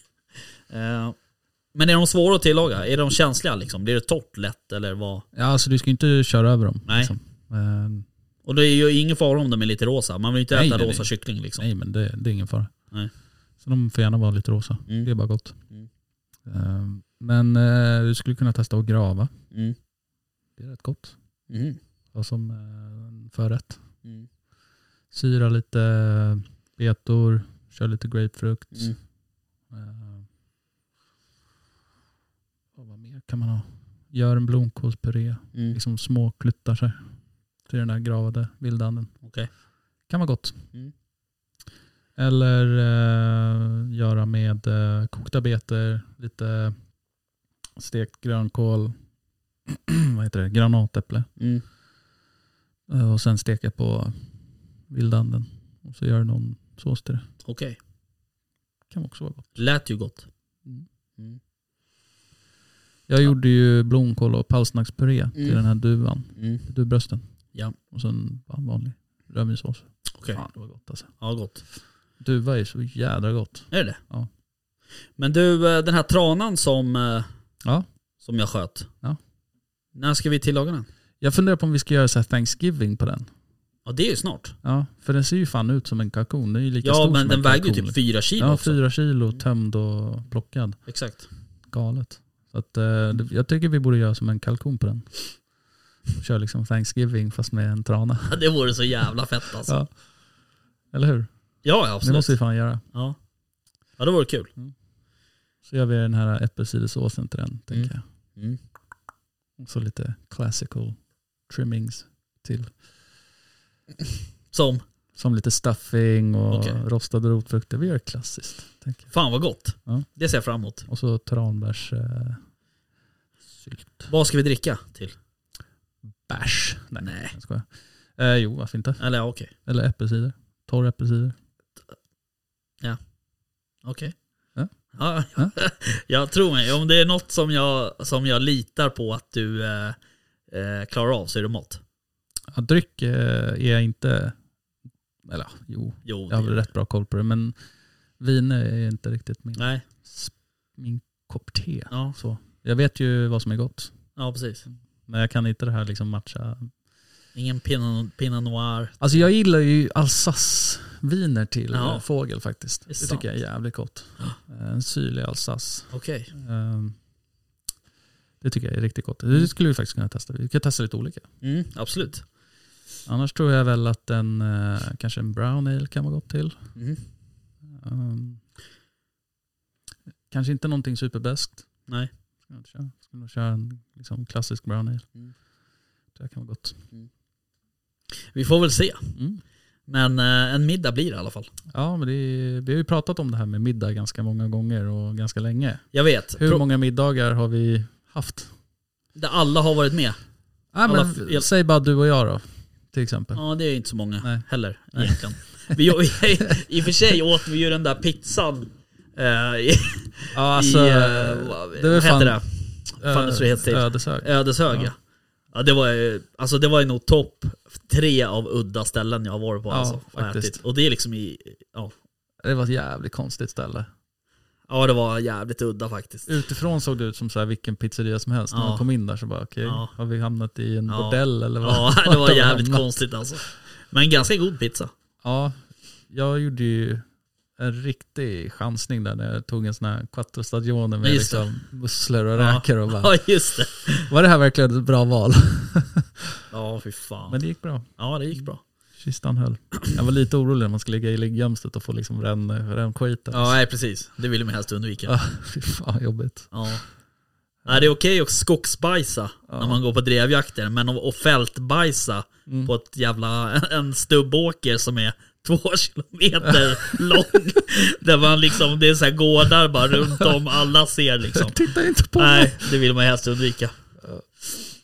C: Eh, men är de svåra att tillaga? Är de känsliga liksom? Blir det torrt lätt eller vad?
D: Ja, alltså du ska ju inte köra över dem.
C: Nej.
D: Eh,
C: Och det är ju ingen fara om de är lite rosa. Man vill ju inte
D: Nej,
C: äta
D: nej,
C: rosa
D: nej.
C: kyckling liksom.
D: Nej men det, det är ingen fara.
C: Nej.
D: Så de får gärna vara lite rosa.
C: Mm.
D: Det är bara gott.
C: Mm.
D: Ehm, men eh, du skulle kunna testa att grava.
C: Mm.
D: Det är rätt gott.
C: Mm.
D: Och som eh, förrätt.
C: Mm.
D: Syra lite betor, kör lite grapefrukt.
C: Mm.
D: Ehm, och vad mer kan man ha? Gör en blomkålspuré.
C: Mm.
D: Liksom små kluttar så här, till den där gravade vildanden.
C: Okej.
D: Kan vara gott.
C: Mm.
D: Eller eh, göra med eh, kokta betor, lite stekt grönkål, vad heter det, granatäpple
C: Mm.
D: eh, och sen steka på vildanden. Och så gör du någon sås till det.
C: Okej.
D: Kan också vara gott.
C: Lät ju gott.
D: Mm.
C: Mm.
D: Jag gjorde ju blomkål och palstnackspuré till
C: Mm.
D: den här duvan,
C: Mm.
D: duvbrösten.
C: Ja.
D: Och sen bara en vanlig rödvinssås.
C: Okej.
D: Fan det var gott alltså.
C: Ja, gott.
D: Duva är så jädra gott.
C: Är det
D: Ja.
C: Men du, eh, den här tranan som, eh,
D: Ja.
C: som jag sköt.
D: Ja.
C: När ska vi tillaga den?
D: Jag funderar på om vi ska göra så här Thanksgiving på den.
C: Ja, det är ju snart.
D: Ja, för den ser ju fan ut som en kalkon. Den är ju lika stor
C: Ja, men
D: som
C: den
D: en
C: väger ju
D: kalkon.
C: typ fyra kilo
D: Ja,
C: också. Mm.
D: fyra kilo tömd och plockad.
C: Exakt.
D: Galet. Så att, eh, det- jag tycker vi borde göra som en kalkon på den. Och kör liksom Thanksgiving fast med en trana.
C: Det vore så jävla fett alltså.
D: Ja. Eller hur?
C: Ja, ja
D: Det
C: absolut.
D: måste vi fan göra.
C: Ja. ja, det vore kul.
D: Så gör vi den här äppelcidersåsen till den, tänker jag.
C: Mm.
D: Och så lite classical trimmings till.
C: Som,
D: Som lite stuffing och
C: Okej.
D: rostade rotfrukter. Vi gör det klassiskt. Tänker jag.
C: fan vad gott.
D: Ja.
C: Det ser jag fram emot.
D: Och så tranbärs... Eh, sylt.
C: Vad ska vi dricka till?
D: Bärs. Nej,
C: Nej.
D: jag skojar. Eh, jo, varför inte?
C: Eller ja, okej.
D: Eller äppelcider. Torr äppelcider.
C: Okej.
D: Ja.
C: Ja.
D: Ja.
C: jag tror mig. Om det är något som jag, som jag litar på att du eh, eh, klarar av så är det mat.
D: Ja, dryck eh, är jag inte... Eller ja, jo,
C: Jo,
D: jag har väl
C: det-
D: rätt bra koll på det. Men vin är inte riktigt min,
C: Nej,
D: min kopp te.
C: ja,
D: Så. Jag vet ju vad som är gott.
C: ja precis.
D: Men jag kan inte det här liksom matcha.
C: Ingen pinot, pinot noir.
D: Alltså jag gillar ju Alsace-viner till
C: Ja.
D: eh, fågel faktiskt.
C: Det är
D: Det,
C: sant.
D: tycker jag är jävligt gott. Eh, En syrlig Alsace.
C: Okej.
D: Eh, Det tycker jag är riktigt gott. Det skulle vi faktiskt kunna testa. Vi kan testa lite olika.
C: Mm, absolut.
D: Annars tror jag väl att en, eh, kanske en brown ale kan vara gott till.
C: Mm.
D: Ehm, kanske inte någonting superbäst.
C: Nej.
D: Ska jag köra. Ska nog köra en liksom, klassisk brown ale.
C: Mm.
D: Det kan vara gott.
C: Vi får väl se.
D: Mm.
C: Men eh, en middag blir det i alla fall.
D: Ja, men det är, vi har ju pratat om det här med middag ganska många gånger och ganska länge.
C: Jag vet.
D: Hur
C: Pro-
D: många middagar har vi haft?
C: där alla har varit med.
D: Ja, men,
C: Alla f-
D: Säg bara du och jag då, till exempel.
C: Ja, det är inte så många
D: Nej.
C: heller egentligen. Vi, vi, I och för sig åt vi ju den där pizzan eh, i,
D: Ja, alltså,
C: i
D: eh,
C: eh, vad,
D: det var
C: vad heter
D: fan-
C: det? fan
D: eh,
C: så det heter till.
D: Ödeshög.
C: Ödeshög ja.
D: Ja.
C: Ja, det, var ju, alltså det var ju nog topp tre av udda ställen jag har varit på.
D: Ja,
C: alltså, och
D: faktiskt.
C: ätit. Och det är liksom i... Ja,
D: Det var ett jävligt konstigt ställe.
C: ja det var jävligt udda faktiskt.
D: Utifrån såg det ut som så här vilken pizzeria som helst. När
C: Ja.
D: man kom in där så bara okej,
C: Ja.
D: har vi hamnat i en
C: Ja.
D: bordell eller vad?
C: Ja, det
D: vart
C: var
D: har vi
C: jävligt
D: hamnat?
C: konstigt alltså. Men ganska god pizza.
D: Ja, jag gjorde ju en riktig chansning där när jag tog en sån här quattro stagione med
C: Just det.
D: liksom musslor och
C: Ja.
D: räkor och bara,
C: Ja, just det.
D: var det här verkligen ett bra val?
C: Ja, fy fan.
D: Men det gick bra.
C: Ja, det gick bra.
D: Kistan höll. Jag var lite orolig när man skulle ligga i liggömslet och få liksom ränn, rännskiten.
C: Ja, nej, precis. Det ville man helst undvika.
D: Ja, Fy fan jobbigt.
C: Ja. Nej, det är okej att skogsbajsa när man går på drevjakter, men att att fältbajsa
D: Mm.
C: på ett jävla, en stubbåker som är två kilometer lång. Där man liksom, det är så här gårdar bara runt om, alla ser liksom.
D: Titta inte Typ på mig.
C: Nej, det vill man helst undvika.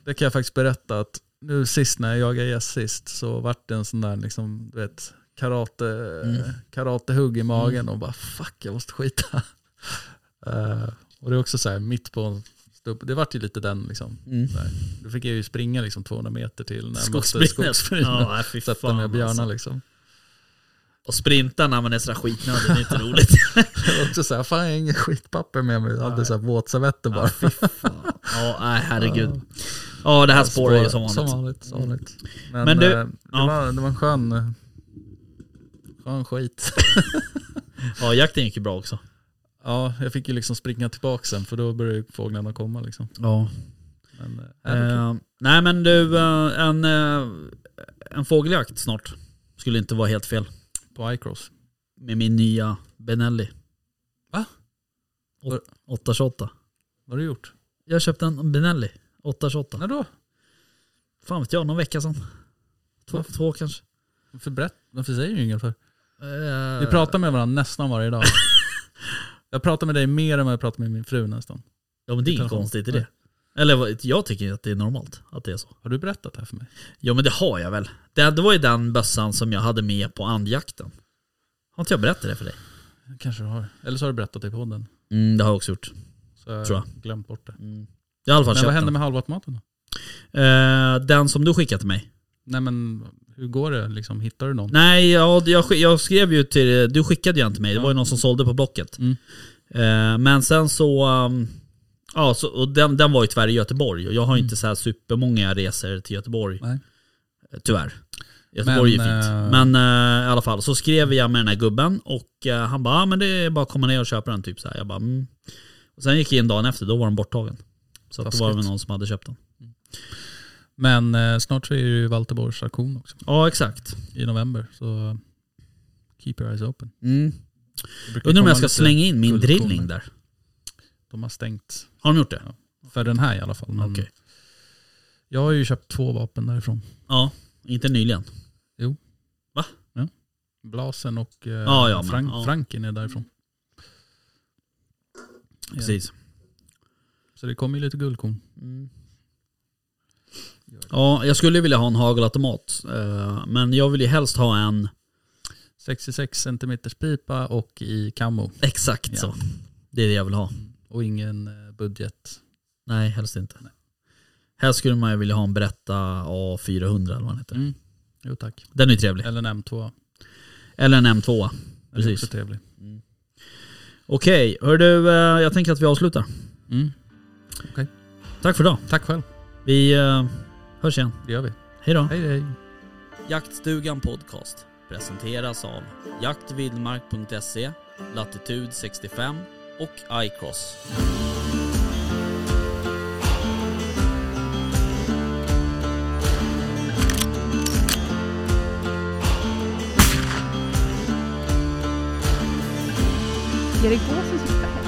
D: Det kan jag faktiskt berätta att nu sist när jag jagade gäss sist så vart det en sån där liksom, du vet, karate,
C: Mm.
D: karatehugg i magen och bara fuck jag måste skita. Eh, och det är också så här mitt på en stubb, det vart ju lite den liksom.
C: Mm.
D: så här. Då fick jag ju springa liksom 200 meter till närmaste
C: Skogsbrynet.
D: skogsbrynet.
C: Ja, nej, fy
D: Sätta
C: fan
D: med björnar
C: alltså.
D: liksom.
C: Och sprinta när man är sådär skitnödig, det är inte roligt.
D: Jag var också så här, fan jag har inget skitpapper med mig. Jag hade så här våtservetter bara.
C: Ja, nej herregud. Ja, det här spårar ju som
D: Som
C: vanligt.
D: vanligt, som vanligt. Men,
C: Men du-
D: eh, det,
C: ja.
D: var, det var en skön, eh, skön skit.
C: Ja, jakten gick ju bra också.
D: Ja, jag fick ju liksom springa tillbaka sen för då började ju fåglarna komma liksom.
C: Ja.
D: Men, eh, det var kul.
C: Eh, nej men du, eh, en, eh, en fågeljakt snart skulle inte vara helt fel.
D: på iCross.
C: Med min nya Benelli.
D: Va?
C: Åt- 828.
D: Vad har du gjort?
C: Jag köpte en Benelli 828.
D: När då?
C: Fan vet jag, någon vecka sedan. Två,
D: Va?
C: två kanske.
D: Varför, berätt, varför säger du inget för?
C: Eh,
D: Vi pratar med varandra nästan varje dag. jag pratar med dig mer än vad jag pratar med min fru nästan.
C: ja men det är inget
D: telefon.
C: konstigt i det. Eller vad- jag tycker att det är normalt att det är så.
D: Har du berättat det här för mig?
C: Jo men det har jag väl. Det, det var ju den bössan som jag hade med på andjakten. Har inte jag berättat det för dig?
D: Kanske du har. Eller så har du berättat det i podden.
C: Mm, det har jag också gjort.
D: Så jag
C: Tror
D: har
C: jag.
D: glömt bort det.
C: Mm. Jag har i alla fall
D: Men
C: köpt
D: vad hände
C: den.
D: med halvvattmaten då?
C: Eh, den som du skickade till mig.
D: Nej men hur går det liksom? Hittar du någon?
C: Nej, ja, jag, sk- jag skrev ju till Du skickade ju en till mig. Det var ju någon som sålde på Blocket.
D: Mm.
C: Eh, men sen så... um, ja, så och den, den var ju tyvärr i Göteborg. Och jag har ju inte så här supermånga resor till Göteborg.
D: Mm. Nej.
C: Eh, Tyvärr. Göteborg
D: Men,
C: är ju fint.
D: eh,
C: Men eh, i alla fall, så skrev jag med den här gubben och eh, han bara, ah, men det är bara att komma ner och köpa den typ så här. Jag bara, mm. och Sen gick jag in dagen efter, då var den borttagen. Så att då var det
D: Taskigt.
C: väl någon som hade köpt den.
D: Men eh, snart så är det ju Valterborgs auktion också
C: Ja, exakt.
D: i november. Så keep your eyes open.
C: Mm.
D: Det brukar
C: Undrar om
D: komma
C: jag ska
D: lite-
C: slänga in min
D: guldkorn.
C: drillning där.
D: De har stängt.
C: Har de gjort det?
D: För den här i alla fall. men
C: Okej.
D: Jag har ju köpt två vapen därifrån.
C: Ja, inte nyligen.
D: Blasen och eh,
C: Ja, ja, men-
D: Frank,
C: ja.
D: Franken är därifrån.
C: Precis.
D: Så det kommer ju lite guldkorn.
C: Mm. Ja, jag skulle vilja ha en hagelautomat. eh, Men jag vill ju helst ha en
D: 66 cm pipa och i camo.
C: exakt
D: Ja.
C: så. Det är det jag vill ha.
D: Och ingen eh, budget.
C: Nej, helst inte. Helst skulle man ju vilja ha en Beretta A400 eller vad den heter.
D: Mm. Jo tack.
C: Den är ju trevlig.
D: Eller en M2.
C: Eller en M2.
D: Det är
C: Precis.
D: också trevlig.
C: Okej, hör du, eh, jag tänker att vi avslutar.
D: Mm.
C: Tack för idag.
D: Tack själv.
C: Vi eh, hörs igen.
D: Det gör vi.
C: Hej då.
D: Hej hej.
C: Jaktstugan Podcast presenteras av jaktvildmark.se, Latitude 65 och iCross.
E: Är det gåsen som ska hem?